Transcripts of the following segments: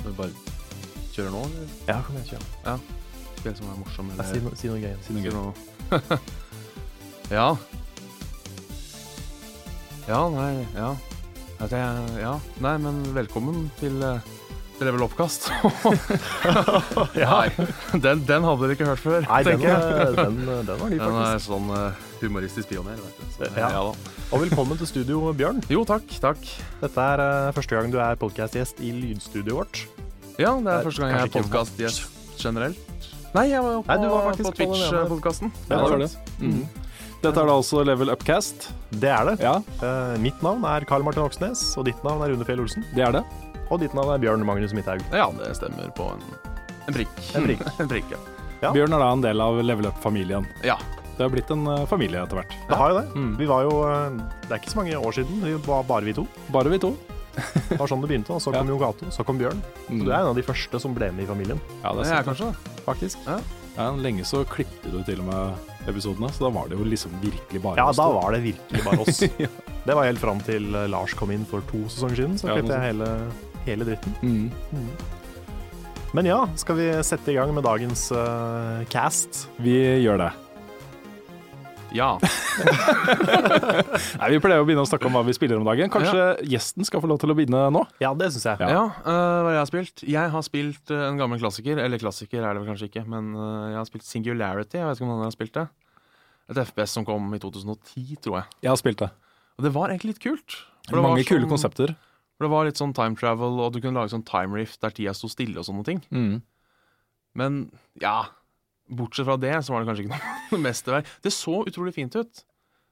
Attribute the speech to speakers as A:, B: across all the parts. A: Skal vi bare kjøre nå, eller?
B: Ja, kom igjen, kjør.
A: Skal jeg som er morsom,
B: Ja,
A: eller?
B: Si, no, si noe gøy.
A: Si noe. ja. Ja, nei, ja. At jeg, ja. Nei, men velkommen til eh, til Level Oppkast. Nei, den, den hadde dere ikke hørt før,
B: Nei, den,
A: tenker jeg.
B: eh, den, eh, den var ny,
A: Den
B: faktisk.
A: er sånn eh, humoristisk pioner, vet du. Så,
B: Ja.
A: ja da.
B: Og velkommen til studio, Bjørn.
A: Jo, takk, takk.
B: Dette er eh, første gang du er podcastgjest i lydstudioet vårt.
A: Ja, det
B: er
A: er første gang jeg er
B: Eh, kanskje ikke
A: podcastgjest generelt. Nei, jeg var jo på,
B: Nei, du var faktisk eh,
A: på
B: på den ene.
A: Twitch-podkasten.
B: Ja, det var det.
C: Dette er da altså Level Upcast.
B: Det er det.
C: Ja,
B: Eh, mitt navn er Karl Martin Oksnes, og ditt navn er Rune Fjell Olsen.
C: det er det.
B: Og ditt navn er Bjørn Magnus Midthaug.
A: Ja, det stemmer på en, en prikk.
B: En prikk.
A: en prikk, ja.
B: Ja.
C: Bjørn er da en del av Level Up-familien.
A: Ja.
C: Det har blitt en eh, familie etter hvert.
B: Det har jo det.
C: Mm.
B: Vi var jo eh, Det er ikke så mange år siden. Vi var bare vi to.
C: Bare vi to.
B: Det var sånn det begynte. Og så kom Jon Cato, så kom Bjørn. Så du er en av de første som ble med i familien.
C: Ja, det
A: Det
C: er
A: er
C: sant,
A: kanskje det.
C: faktisk.
A: Ja.
C: Ja, lenge så klippte du til og med episodene, så da var det jo liksom virkelig bare
B: Ja,
C: oss
B: da
C: to.
B: var det virkelig bare oss. Det var helt fram til eh, Lars kom inn for to sesonger siden. Så
C: Ja,
B: klippet
C: noe
B: jeg hele, hele dritten.
C: Mm.
B: Men ja, skal vi sette i gang med dagens eh, cast?
C: Vi gjør det.
A: Ja.
C: Nei, Vi pleier å begynne å snakke om hva vi spiller om dagen. Kanskje gjesten skal få lov til å begynne nå?
B: Ja, det syns jeg.
A: ja. øh, hva jeg har spilt? Jeg har spilt øh, en gammel klassiker. Eller klassiker er det vel kanskje ikke, men øh, jeg har spilt Singularity. Jeg vet ikke om noen har spilt det. Et FPS som kom i 2010, tror jeg.
C: Jeg har spilt det.
A: Og det var egentlig litt kult. For det var
C: Mange kule
A: sånn-
C: konsepter.
A: For det var litt sånn time travel, og du kunne lage sånn time rift der tida sto stille og sånne ting.
C: Mm.
A: Men ja, bortsett fra det, så var det kanskje ikke noe mesterverk. Det så utrolig fint ut,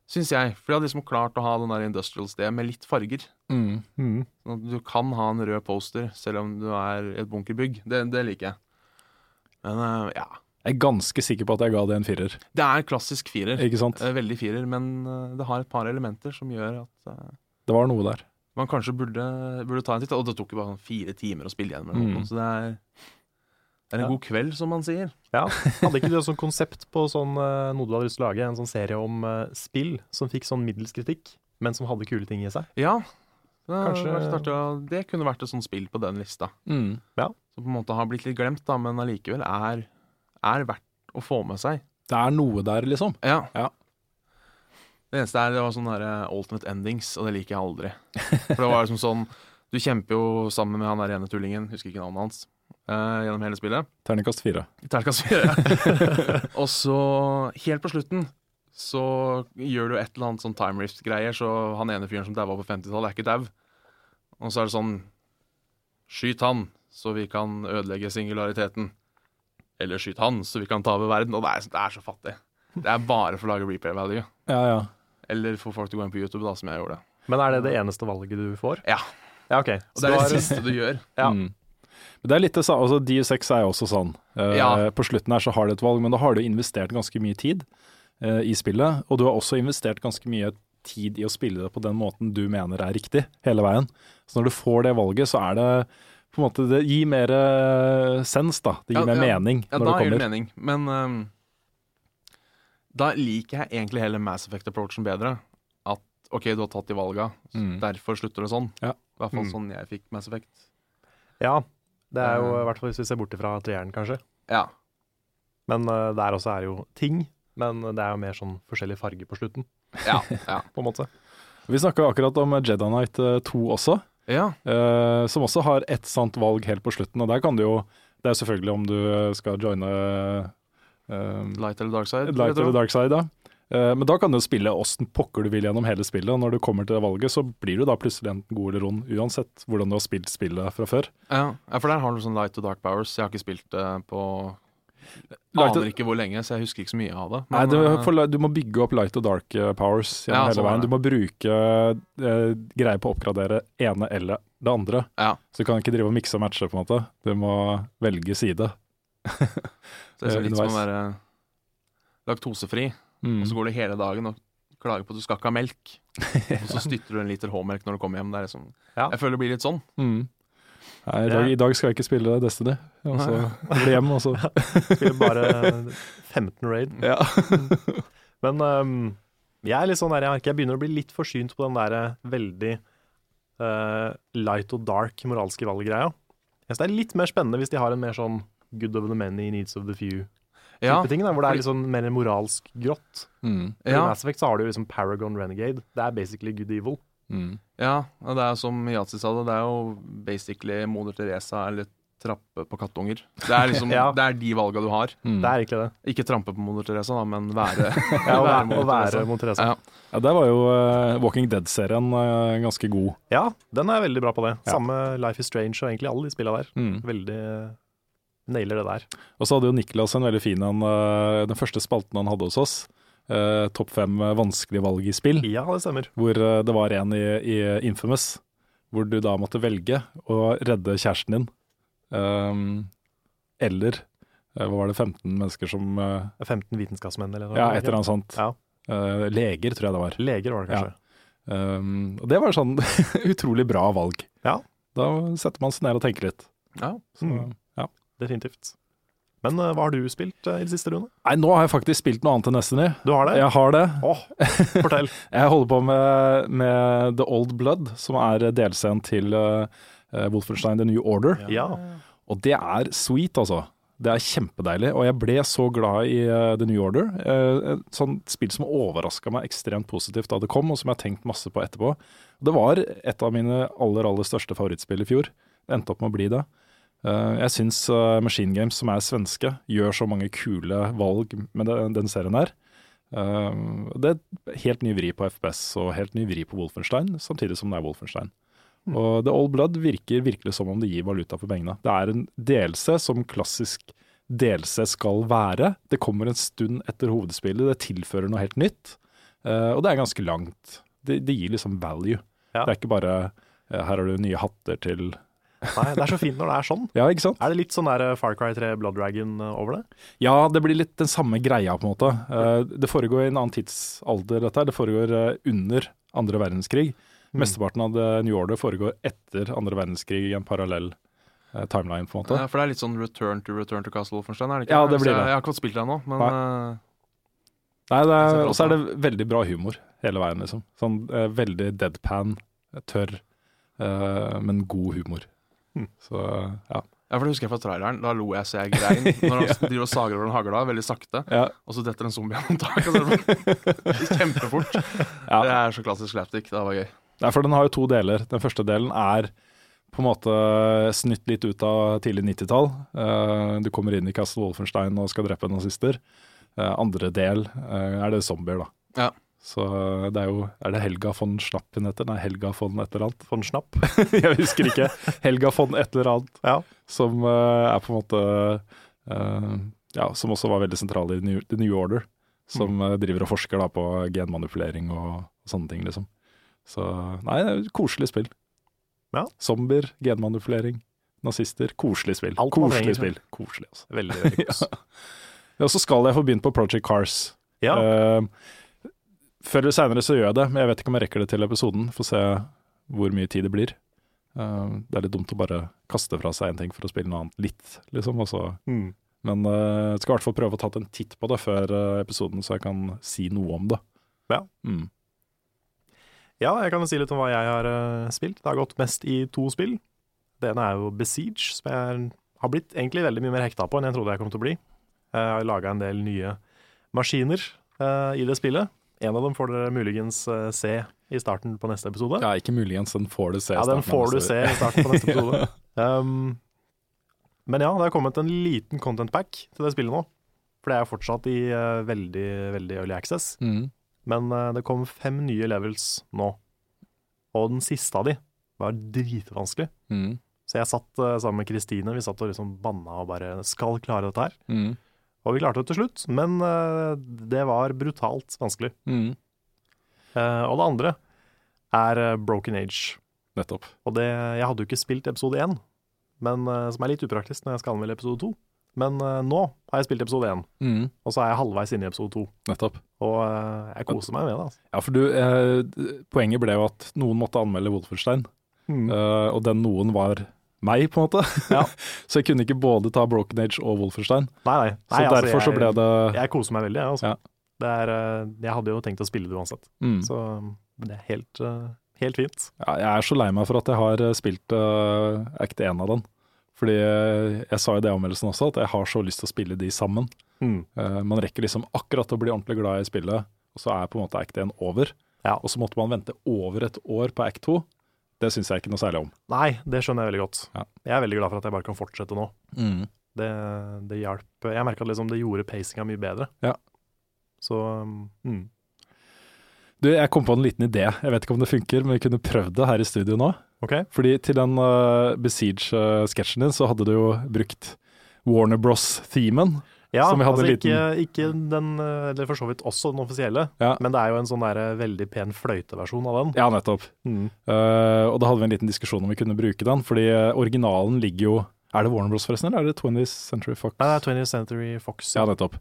A: syns jeg. For de hadde liksom klart å ha den der industrial sted med litt farger.
C: Mm.
B: Mm.
A: Sånn at Du kan ha en rød poster selv om du er i et bunkerbygg. Det, det liker jeg. Men eh, ja.
C: Jeg er ganske sikker på at jeg ga det en firer.
A: Det er klassisk firer.
C: Ikke sant?
A: Eh, Veldig firer, men eh, det har et par elementer som gjør at eh,
C: Det var noe der.
A: man kanskje burde, burde ta en titt. Og det tok jo bare sånn fire timer å spille igjen. eller noe,
C: Mm.
A: Så det er, det er en
B: Ja.
A: god kveld, som man sier.
B: Ja. Hadde ikke du et sånt konsept på sånn, eh, noe du hadde lyst til å lage? En sånn serie om eh, spill som fikk sånn middels kritikk, men som hadde kule ting i seg?
A: Ja. Det, hadde
B: Kanskje-
A: vært artig å- det kunne vært et sånt spill på den lista.
C: Mm.
A: Som på en måte har blitt litt glemt, da, men allikevel er, er verdt å få med seg.
C: Det er noe der, liksom.
A: Ja.
C: Ja.
A: Det eneste er det var sånne der eh, alternate endings, og det liker jeg aldri. For det var liksom sånn Du kjemper jo sammen med han der ene tullingen, husker ikke navnet hans, eh, gjennom hele spillet.
C: Terningkast fire.
A: Terningkast fire. og så, helt på slutten, så gjør du et eller annet sånn time rift-greier, så han ene fyren som daua på 50-tallet, er ikke dau. Og så er det sånn Skyt han, så vi kan ødelegge singulariteten. Eller skyt han, så vi kan ta over verden. Og det er, det er så fattig. Det er bare for å lage replay value.
C: Ja, ja.
A: Eller for folk til å gå inn på YouTube, da, som jeg gjorde.
B: Men er det det eneste valget du får?
A: Ja.
B: Ja, OK.
A: Og
B: Så
A: det
B: du
A: er
B: har-
A: det siste du gjør.
B: Ja.
C: Mm. Men det er litt det samme, altså DU6 er jo også sånn. Eh,
A: Ja.
C: På slutten her så har du et valg, men da har du investert ganske mye tid eh, i spillet. Og du har også investert ganske mye tid i å spille det på den måten du mener er riktig, hele veien. Så når du får det valget, så er det på en måte, Det gir mer eh, sens, da. Det gir
A: Ja,
C: mer
A: ja.
C: mening
A: Ja,
C: når
A: da
C: det
A: gir det
C: kommer.
A: mening. Men ehm, da liker jeg egentlig hele Mass Effect-approachen bedre. At OK, du har tatt de valga,
C: Mm.
A: derfor slutter det sånn.
C: Ja.
A: I hvert fall
C: Mm.
A: sånn jeg fikk Mass Effect.
B: ja. Det er jo
A: Eh.
B: i hvert fall hvis vi ser bort fra treeren, kanskje.
A: Ja.
B: Men eh, der også er jo ting Men det er jo mer sånn forskjellig farge på slutten,
A: Ja, ja.
B: på en måte.
C: Vi snakka akkurat om Jedi Knight eh, 2 også,
A: ja.
C: eh, som også har ett sant valg helt på slutten. Og der kan du jo Det er jo selvfølgelig om du skal joine eh,
A: Light eller dark side?
C: Light
A: vet du.
C: eller Dark Side, ja. Eh, Men da kan du spille åssen pokker du vil gjennom hele spillet, og når du kommer til det valget, så blir du da plutselig enten god eller ond, uansett hvordan du har spilt spillet fra før.
A: Ja. ja, for der har du sånn light og dark powers. Jeg har ikke spilt det på
C: Light-
A: Aner ikke hvor lenge, så jeg husker ikke så mye av det.
C: Nei,
A: Men,
C: du,
A: eh,
C: for, du må bygge opp light og dark eh, powers gjennom
A: Ja,
C: hele
A: sånn er
C: veien.
A: det.
C: Du må bruke eh, greier på å oppgradere ene eller det andre.
A: Ja.
C: Så du kan ikke drive og mikse og matche, på en måte. Du må velge side.
A: så det er så litt som å
C: underveis.
A: være laktosefri,
C: Mm.
A: og så går du hele dagen og klager på at du skal ikke ha melk. Og så styrter du en liter H-melk når du kommer hjem. Det er liksom,
B: Ja.
A: Jeg føler det blir litt sånn.
C: Mm. Nei, i, dag, I dag skal jeg ikke spille Destiny. Og så bli hjemme, altså. og så
B: Spiller bare 15 raid.
C: Ja.
B: Men ehm, jeg er litt sånn der, jeg, har ikke- jeg begynner å bli litt forsynt på den der eh, veldig eh, light og dark moralske valggreia. Jeg synes det er litt mer spennende hvis de har en mer sånn good of the many, needs of the few-type
A: Ja,
B: ting, da, hvor det er litt sånn mer moralsk grått.
C: mm.
B: I
A: ja,
B: Mass Effect så har du jo liksom Paragon Renegade. Det er basically good evil.
C: Mm.
A: ja, og det er som Yatzy sa det, det er jo basically moder Teresa eller trappe på kattunger. Det er liksom,
B: Ja.
A: det er de valga du har.
C: Mm.
B: Det er egentlig det.
A: Ikke trampe på moder Teresa, da, men være,
B: Ja,
A: være
B: å være,
A: moder
B: å være
A: Teresa.
B: mot Teresa.
A: Ja.
C: Ja, der var jo eh, Walking Dead-serien eh, ganske god.
B: Ja, den er veldig bra på det.
C: Ja.
B: Samme Life is Strange og egentlig alle de spilla der. Veldig eh, nailer det der.
C: Og så hadde jo Niklas en veldig fin en, eh, den første spalten han hadde hos oss. eh, Topp fem eh, vanskelige valg i spill,
B: Ja, det stemmer.
C: hvor eh, det var en i, i Infamous, hvor du da måtte velge å redde kjæresten din, ehm, eller eh, hva var det, 15 mennesker som eh,
B: 15 vitenskapsmenn eller noe.
C: Ja, et eller annet sånt.
B: Ja.
C: Eh, leger, tror jeg det var.
B: Leger var det kanskje.
C: Ehm, og det var sånn utrolig bra valg.
B: Ja.
C: Da setter man seg ned og tenker litt.
A: Ja.
C: Så,
B: Mm.
C: ja.
B: Definitivt. Men eh, hva har du spilt eh, i det siste, Rune?
C: Nei, nå har jeg faktisk spilt noe annet enn Destiny.
B: Du har det?
C: Jeg har det.
B: Åh, fortell.
C: Jeg holder på med, med The Old Blood, som er delscenen til eh, Wolfenstein The New Order.
B: ja.
C: Og det er sweet, altså. Det er kjempedeilig. Og jeg ble så glad i eh, The New Order. Eh, et sånt spill som overraska meg ekstremt positivt da det kom, og som jeg har tenkt masse på etterpå. Det var et av mine aller, aller største favorittspill i fjor. Det endte opp med å bli det. Eh, jeg syns eh, Machine Games, som er svenske, gjør så mange kule valg med den, den serien her. Eh, det er helt ny vri på FPS og helt ny vri på Wolfenstein, samtidig som det er Wolfenstein. Og The Old Blood virker virkelig som om det gir valuta for pengene. Det er en delelse som klassisk delelse skal være. Det kommer en stund etter hovedspillet, det tilfører noe helt nytt. eh, og det er ganske langt. Det, det gir liksom value.
B: Ja.
C: Det er ikke bare eh, her har du nye hatter til
B: Nei, det er så fint når det er sånn.
C: Ja, ikke sant?
B: Er det litt sånn der eh, Far Cry 3 Blood Dragon eh, over det?
C: Ja, det blir litt den samme greia, på en måte. Eh, Det foregår i en annen tidsalder, dette her. Det foregår eh, under andre verdenskrig.
B: Mm.
C: Mesteparten av The New Order foregår etter andre verdenskrig i en parallell eh, timeline, på en måte.
A: Ja, for det er litt sånn return to return to Castle Wolfenstein, er det ikke?
C: Ja, det
A: Så
C: blir
A: Jeg,
C: det.
A: jeg har ikke fått spilt det ennå, men eh,
C: Nei, det
A: ser
C: er-
A: bra
C: Og så er
A: ut,
C: det veldig bra humor hele veien, liksom. Sånn eh, veldig deadpan, tørr, eh, men god humor. Så ja.
A: ja, for det husker jeg fra traileren. Da lo jeg så jeg grein. Når han driver og sager over en hagla veldig sakte,
C: ja.
A: og så detter en zombie gjennom taket. og så er det bare- Kjempefort. Det er så klassisk slapstick. Det var gøy.
C: Nei, for den har jo to deler. Den første delen er på en måte eh, snytt litt ut av tidlig 90-tall. Eh, du kommer inn i Castle Wolfenstein og skal drepe nazister. Eh, andre del eh, er det zombier, da.
A: Ja.
C: Så eh, det er jo Er det Helga von Schnapp hun heter? Nei, Helga von et eller annet.
B: Von Schnapp?
C: Jeg husker ikke. Helga von et eller annet.
B: Ja.
C: Som eh, er på en måte eh, Ja, som også var veldig sentral i New, The New Order. Som
B: Mm.
C: eh, driver og forsker da på genmanipulering og sånne ting, liksom. Så nei, det er et koselig spill.
B: Ja.
C: Zombier, genmanipulering, nazister. Koselig spill.
B: Alt man
C: koselig
B: trenger.
C: spill. Koselig, altså.
B: Veldig, veldig kos.
C: Ja, så skal jeg få begynt på Project Cars.
B: Ja.
C: Eh, før eller seinere så gjør jeg det, men jeg vet ikke om jeg rekker det til episoden. Får se hvor mye tid det blir. Eh, det er litt dumt å bare kaste fra seg en ting for å spille noe annet litt, liksom. Og så.
B: Mm.
C: Men eh, jeg skal i hvert fall prøve å ta en titt på det før eh, episoden, så jeg kan si noe om det.
B: Ja.
C: Mm.
B: Ja, jeg kan jo si litt om hva jeg har eh, spilt. Det har gått mest i to spill. Det ene er jo Besiege, som jeg Eh, har blitt egentlig veldig mye mer hekta på enn jeg trodde jeg kom til å bli. Jeg har laga en del nye maskiner eh, i det spillet. En av dem får dere muligens eh, se i starten på neste episode.
C: Ja, ikke muligens, den får du se.
B: Ja, den får du se i starten på neste episode. Um, men ja, det har kommet en liten content pack til det spillet nå. For det er jo fortsatt i eh, veldig, veldig early access.
C: Mm.
B: Men eh, det kom fem nye levels nå. Og den siste av de var dritvanskelig.
C: Mm.
B: Så jeg satt eh, sammen med Kristine, vi satt og liksom banna og bare skal klare dette her.
C: Mm.
B: Og vi klarte det til slutt, men eh, det var brutalt vanskelig.
C: Mm.
B: Eh, og det andre er eh, Broken Age.
C: Nettopp.
B: Og det, jeg hadde jo ikke spilt episode 1, men, eh, som er litt upraktisk når jeg skal anmelde episode 2. Men eh, nå har jeg spilt episode 1,
C: Mm.
B: og så er jeg halvveis inne i episode 2.
C: Nettopp.
B: Og eh, jeg koser meg med det. altså.
C: Ja, for du, eh, poenget ble jo at noen måtte anmelde Wolfenstein, eh, og den noen var meg, på en måte.
B: Mm. Ja.
C: så jeg kunne ikke både ta Broken Age og Wolfenstein.
B: Nei, nei.
C: Så
B: nei altså,
C: derfor så
B: jeg-
C: ble det
B: Jeg koser meg veldig, jeg. Altså.
C: Ja.
B: Det er, eh, jeg hadde jo tenkt å spille det uansett,
C: mm.
B: så eh, det er helt, eh, helt fint.
C: ja, Jeg er så lei meg for at jeg har eh, spilt eh, Act 1 av den. Fordi eh, jeg sa i det i anmeldelsen også at jeg har så lyst til å spille de sammen. Eh, Man rekker liksom akkurat å bli ordentlig glad i spillet, og så er på en måte act 1 over.
B: Ja.
C: Og så måtte man vente over et år på act 2. Det syns jeg ikke noe særlig om.
B: Nei, det skjønner jeg veldig godt.
C: Ja.
B: Jeg er veldig glad for at jeg bare kan fortsette nå. Det, det hjalp. Jeg merka at liksom det gjorde pacinga mye bedre.
C: Ja.
B: Så mm.
C: Du, jeg kom på en liten idé. Jeg vet ikke om det funker, men vi kunne prøvd det her i studio nå.
B: OK.
C: Fordi til den uh, Besiege-sketsjen din, så hadde du jo brukt Warner Bros.-themen.
B: Ja,
C: Som vi hadde
B: altså
C: en
B: ikke, ikke den eh, Eller for så vidt også den offisielle,
C: Ja.
B: men det er jo en sånn der veldig pen fløyteversjon av den.
C: Ja, nettopp.
B: Mm.
C: Eh, og da hadde vi en liten diskusjon om vi kunne bruke den, fordi eh, originalen ligger jo Er det Warner Bros, forresten, eller er det 20th Century Fox?
B: Nei, det er 20th Century Fox.
C: Ja, nettopp.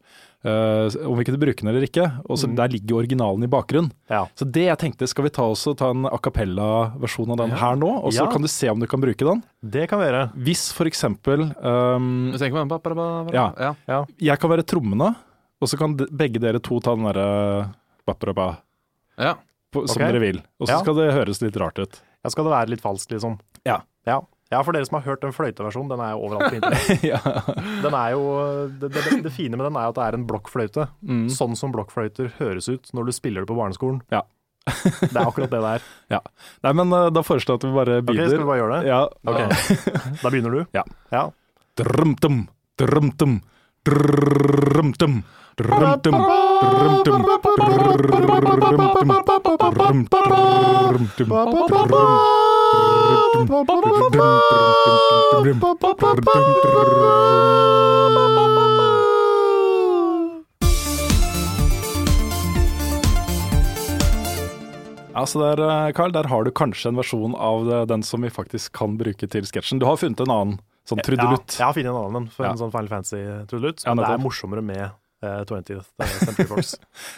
C: Eh, om vi kunne bruke den eller ikke. Og så
B: Mm.
C: Der ligger jo originalen i bakgrunnen.
B: Ja.
C: Så det jeg tenkte, skal vi ta, også, ta en a cappella-versjon av den her nå? Og så
B: Ja.
C: kan du se om du kan bruke den.
B: Det kan vi gjøre.
C: Hvis for eksempel ehm,
A: Du tenker på den? ba, ba, ba, ba,
C: Ja.
A: ja.
C: jeg kan være trommene, og så kan de- begge dere to ta den derre ba-ba-ba
A: ja.
C: på- som
B: Ok.
C: dere vil. Og så
B: Ja.
C: skal det høres litt rart ut.
B: Ja, skal det være litt falskt, liksom?
C: Ja.
B: ja. Ja, for dere som har hørt den fløyteversjonen, den er jo overalt på internett.
C: ja.
B: Den er jo, det, det, det fine med den er jo at det er en blokkfløyte.
C: Mm.
B: Sånn som blokkfløyter høres ut når du spiller det på barneskolen.
C: Ja.
B: Det er akkurat det det er.
C: ja. Nei, men eh, da foreslår jeg at vi bare
B: Ok,
C: begynner.
B: Skal vi bare gjøre det?
C: Ja.
B: Da begynner du?
C: Ja.
B: ja.
C: Drømtum, drømtum, drømtum, drømtum, drømtum, drømtum, drømtum, drømtum. Altså der, eh, Carl, der har du kanskje en versjon av det- den som vi faktisk kan bruke til sketsjen. Du har funnet en annen sånn
B: Ja,
C: trudelutt.
B: jeg har funnet en annen en, for
C: Ja.
B: en sånn Final Fantasy trudelutt.
C: Ja,
B: Men det
C: nettopp.
B: er morsommere med eh, 20th Century Fox.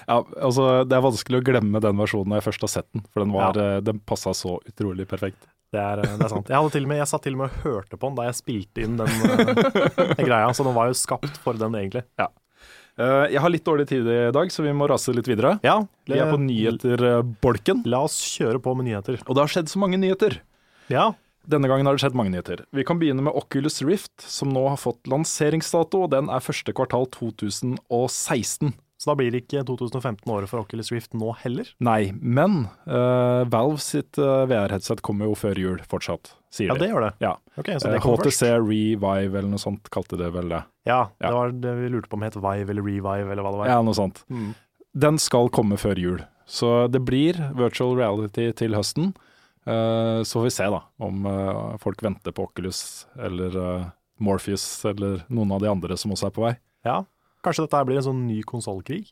C: Ja, altså Det er vanskelig å glemme den versjonen når jeg først har sett den, for den, var, eh, den passa så utrolig perfekt.
B: Det er, eh, det er sant. Jeg, hadde til og med, jeg satt til og med og hørte på den da jeg spilte inn den eh, greia, så den var jo skapt for den, egentlig.
C: Eh, Jeg har litt dårlig tid i dag, så vi må rase litt videre.
B: Ja,
C: Vi er på nyheter-bolken,
B: La oss kjøre på med nyheter.
C: og det har skjedd så mange nyheter.
B: Ja,
C: Denne gangen har det skjedd mange nyheter. Vi kan begynne med Oculus Rift, som nå har fått lanseringsdato, og den er første kvartal 2016.
B: så da blir det ikke 2015-året for Oculus Rift nå heller.
C: Nei, men eh, Valve sitt eh, VR-headset kommer jo før jul fortsatt, sier
B: Ja, det
C: de.
B: gjør det.
C: Ja.
B: Ok, så
C: Eh,
B: det kom
C: HTC
B: først.
C: Revive eller noe sånt kalte de vel det.
B: Ja, det
C: Ja.
B: var det vi lurte på om het Vive eller Revive eller hva det var.
C: Ja, noe sånt.
B: Mm.
C: Den skal komme før jul. Så det blir virtual reality til høsten. Eh, så får vi se da om eh, folk venter på Oculus eller eh, Morpheus eller noen av de andre som også er på vei.
B: Ja. Kanskje dette her blir en sånn ny konsollkrig?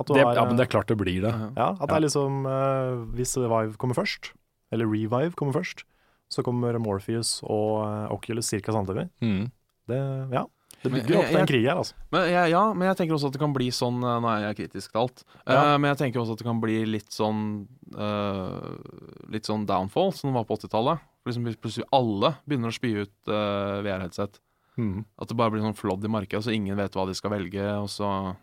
B: At, du
C: Det,
B: har,
C: ja, men det er klart det blir det.
B: ja, at det er liksom eh, Hvis Vive kommer først, eller Revive kommer først, så kommer Morpheus og eh, Oculus ca. samtidig.
C: Mm.
B: Det, ja. det
A: Men
B: bygger opp
A: jeg-
B: til
A: jeg-
B: en krig her, altså.
A: Men, ja, ja, men jeg tenker også at det kan bli sånn eh, Nå er jeg kritisk til alt. Eh,
B: Ja.
A: men jeg tenker også at det kan bli litt sånn eh, Litt sånn downfall, som det var på 80-tallet. Liksom hvis plutselig alle begynner å spy ut eh, VR-headset. At det bare blir sånn flodd i markedet, så ingen vet hva de skal velge. Og så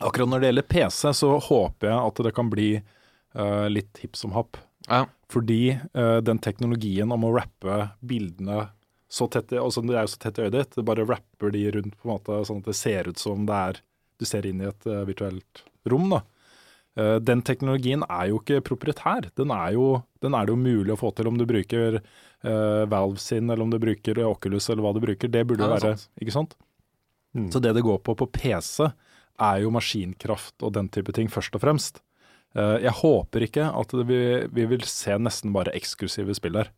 C: Akkurat når det gjelder PC, så håper jeg at det kan bli eh, litt hipp som happ.
A: Ja.
C: Fordi eh, den teknologien om å rappe bildene så tett i, altså det er jo så tett i øyet ditt, det bare rapper de rundt på en måte sånn at det ser ut som det er du ser inn i et eh, virtuelt rom. da. Eh, Den teknologien er jo ikke proprietær. Den er, jo, den er det jo mulig å få til om du bruker eh, Valve sin, eller om du bruker Oculus, eller hva du bruker. Det burde
A: Ja,
C: jo
A: det er Mm.
C: være Ikke sant? Så det det går på på PC, er jo maskinkraft og den type ting, først og fremst. Eh, Jeg håper ikke at det, vi, vi vil se nesten bare eksklusive spill der.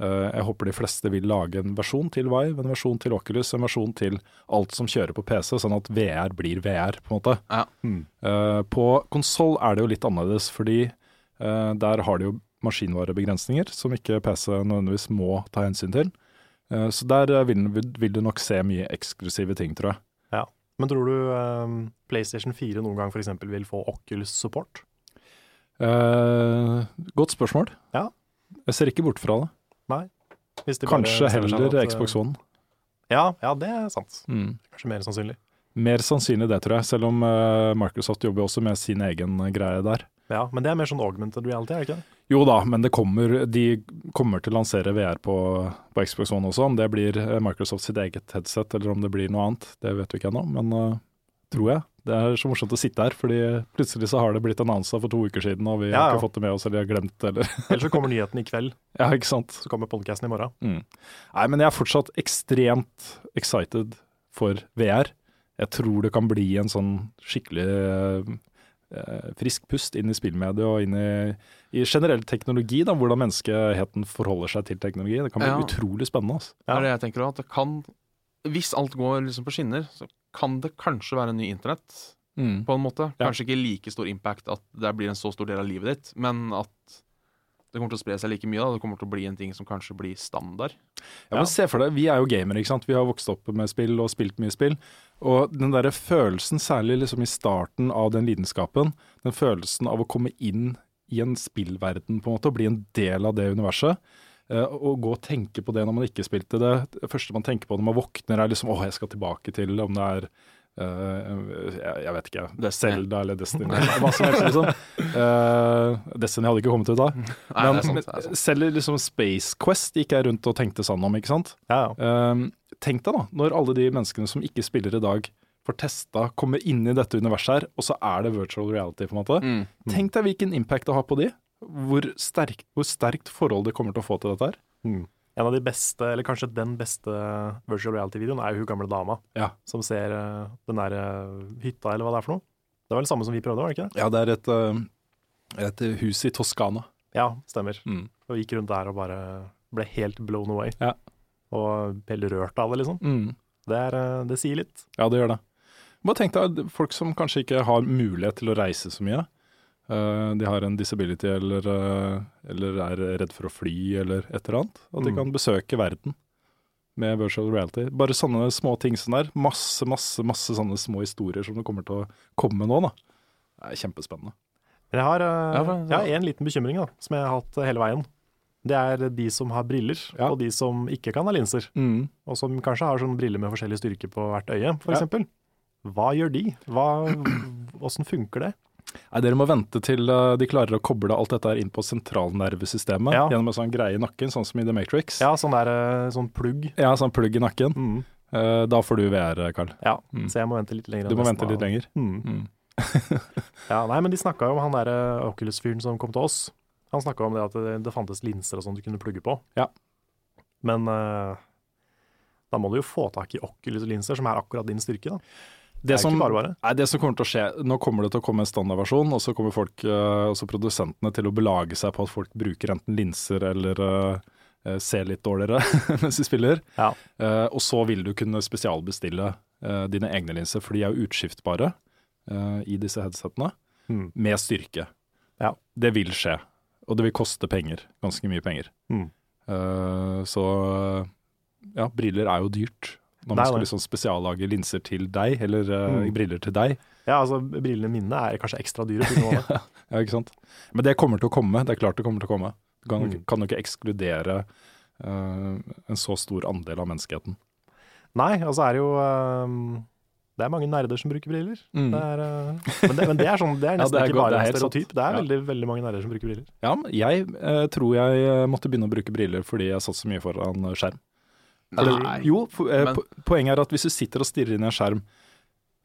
C: Eh, Jeg håper de fleste vil lage en versjon til Vive, en versjon til Oculus, en versjon til alt som kjører på PC, sånn at VR blir VR, på en måte.
A: Ja.
C: Eh, På konsoll er det jo litt annerledes, fordi eh, der har de jo maskinvarebegrensninger som ikke PC nødvendigvis må ta hensyn til. Eh, Så der eh, vil, vil du nok se mye eksklusive ting, tror jeg.
B: Men tror du eh, PlayStation 4 noen gang f.eks. vil få Oculus support?
C: Eh, godt spørsmål.
B: Ja.
C: Jeg ser ikke bort fra det.
B: Hvis de bare
C: Kanskje
B: ser for seg
C: heller
B: at, eh,
C: Xbox One.
B: Ja, ja, det er sant.
C: Mm.
B: Kanskje mer sannsynlig.
C: Mer sannsynlig det, tror jeg. Selv om eh, Microsoft jobber også med sin egen greie der.
B: Ja, Men det er mer sånn augmented reality, er det ikke det?
C: Jo da, men det kommer, de kommer til å lansere VR på, på Xbox One også. Om det blir eh, Microsoft sitt eget headset eller om det blir noe annet, det vet vi ikke ennå. Men eh, tror jeg. Det er så morsomt å sitte her, fordi plutselig så har det blitt annonsa for to uker siden, og vi
B: Ja,
C: har
B: ja.
C: ikke fått det med oss, eller har glemt det, eller
B: Ellers så kommer nyheten i kveld,
C: Ja, ikke sant.
B: så kommer podcasten i morgen.
C: Nei, men jeg er fortsatt ekstremt excited for VR. Jeg tror det kan bli en sånn skikkelig eh, frisk pust inn i spillmediet og inn i, i generell teknologi, da, hvordan menneskeheten forholder seg til teknologi. Det kan bli
A: Ja.
C: utrolig spennende. Altså.
A: Det er det jeg tenker også, at det kan, Hvis alt går liksom på skinner, så kan det kanskje være en ny internett, på en måte.
C: Ja.
A: Kanskje ikke like stor impact at det blir en så stor del av livet ditt, men at det kommer til å spre seg like mye. da. Det kommer til å bli en ting som kanskje blir standard.
C: Ja, men se for deg, Vi er jo gamere, ikke sant? vi har vokst opp med spill og spilt mye spill. Og den der følelsen, særlig liksom i starten av den lidenskapen, den følelsen av å komme inn i en spillverden på en måte, og bli en del av det universet. eh, Og gå og tenke på det når man ikke spilte det. Det første man tenker på når man våkner er liksom åh, jeg skal tilbake til om det er eh, jeg, jeg vet ikke.
A: Destiny.
C: Zelda eller Destiny. Hva som helst, liksom. Eh, Destiny hadde ikke kommet ut da.
A: Nei,
C: Men,
A: det er sant, det er sant.
C: selv liksom Space Quest gikk jeg rundt og tenkte sånn om, ikke sant?
B: Ja, ja.
C: Ehm, tenk deg da, når alle de menneskene som ikke spiller i dag, får testa, kommer inn i dette universet her, og så er det virtual reality, på en måte.
A: Mm.
C: Tenk deg hvilken impact det har på de. Hvor sterkt, hvor sterkt forhold det kommer til å få til dette her.
B: En av de beste, eller kanskje den beste virtual reality-videoen er jo hun gamle dama
C: Ja.
B: som ser eh, den der eh, hytta, eller hva det er for noe. Det var det samme som vi prøvde, var det ikke det?
C: Ja, det er et, ehm, et hus i Toskana.
B: Ja, stemmer.
C: Mm.
B: Og gikk rundt der og bare ble helt blown away.
C: Ja.
B: Og helt rørt av det, liksom.
C: Mm.
B: Det, er, eh, det sier litt.
C: Ja, det gjør det. Bare tenk deg folk som kanskje ikke har mulighet til å reise så mye. Eh, de har en disability eller, eh, eller er redd for å fly eller et eller annet. At de
B: Mm.
C: kan besøke verden med virtual reality. Bare sånne små ting som der. Masse, masse, masse sånne små historier som det kommer til å komme nå, da. Det er kjempespennende.
B: Men jeg har eh,
A: Ja, for-
B: jeg har en liten bekymring da, som jeg har hatt eh, hele veien. Det er de som har briller,
C: Ja.
B: og de som ikke kan ha linser. Og som kanskje har sånne briller med forskjellig styrke på hvert øye,
C: Ja.
B: f.eks. eksempel. Hva gjør de? Hva, hvordan funker det?
C: Nei, dere må vente til eh, de klarer å koble alt dette her inn på sentralnervesystemet
B: Ja.
C: gjennom en sånn greie i nakken, sånn som i The Matrix.
B: Ja, sånn, der, eh, sånn plugg.
C: Ja, sånn plugg i nakken.
B: Mm.
C: Eh, da får du VR, Carl.
B: Ja,
C: Mm.
B: så jeg må vente litt lenger. enn
C: Du må
B: resten
C: vente
B: av-
C: litt lenger.
B: Mm.
C: Mm.
B: Ja, nei, men de snakka jo om han derre Oculus-fyren som kom til oss. Han snakka om det at det, det fantes linser og sånn du kunne plugge på.
C: Ja.
B: Men eh, da må du jo få tak i Oculus-linser, som er akkurat din styrke, da.
C: Det
B: er
C: som,
B: ikke bare bare.
C: Nei, det som kommer til å skje, nå kommer det til å komme en standardversjon, og så kommer folk, eh, også produsentene, til å belage seg på at folk bruker enten linser eller eh, eh, ser litt dårligere mens de spiller.
B: Ja.
C: Eh, og så vil du kunne spesialbestille eh, dine egne linser, for de er jo utskiftbare eh, i disse headsetene,
B: Mm.
C: med styrke.
B: Ja.
C: Det vil skje, og det vil koste penger, ganske mye penger.
B: Mm.
C: Eh, så ja, briller er jo dyrt.
B: Det
C: Når man
B: er
C: skal
B: det.
C: liksom spesiallage linser til deg, eller eh,
B: Mm.
C: briller til deg,
B: Ja, altså brillene mine er kanskje ekstra dyre. på grunn av det.
C: Ja, ikke sant? Men det kommer til å komme, det er klart det kommer til å komme. Du kan,
B: Mm.
C: kan jo ikke ekskludere eh, en så stor andel av menneskeheten.
B: Nei, altså er det jo eh, Det er mange nerder som bruker briller. Det er, eh, men, det, men det er sånn, det er
C: Mm. Ja,
B: nesten
C: det er
B: ikke
C: godt,
B: bare
C: det er
B: en
C: helt sant.
B: stereotyp. Det er
C: Ja.
B: veldig, veldig mange nerder som bruker briller.
C: Ja, men jeg eh, tror jeg eh, måtte begynne å bruke briller fordi jeg satt så mye foran skjerm. Eller, jo, po eh,
A: men-
C: po poenget er at hvis du sitter og stirrer inn i en skjerm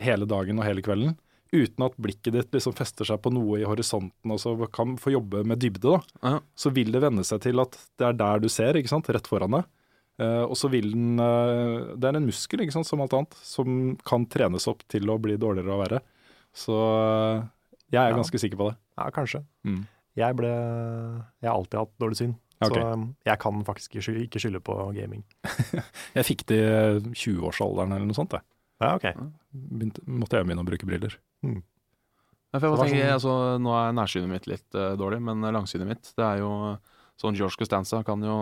C: hele dagen og hele kvelden, uten at blikket ditt liksom fester seg på noe i horisonten og så kan få jobbe med dybde, da,
A: Ja.
C: så vil det vende seg til at det er der du ser, ikke sant, rett foran deg. Eh, og så vil den eh, Det er en muskel, ikke sant, som alt annet, som kan trenes opp til å bli dårligere og verre. Så eh, jeg er
B: Ja.
C: ganske sikker på det.
B: Ja, kanskje.
C: Mm.
B: Jeg ble Jeg har alltid hatt dårlig syn.
C: Ja, ok.
B: Så um, jeg kan faktisk ikke sky- ikke skylde på gaming.
C: Jeg fikk det i 20-årsalderen eller noe sånt. Jeg.
B: Ja, ok.
C: Begynte, måtte jeg begynne å bruke briller.
A: Ja, for jeg bare
B: Det var
A: tenker, altså, nå er nærsynet mitt litt eh, dårlig, men langsynet mitt det er jo sånn George Costanza kan jo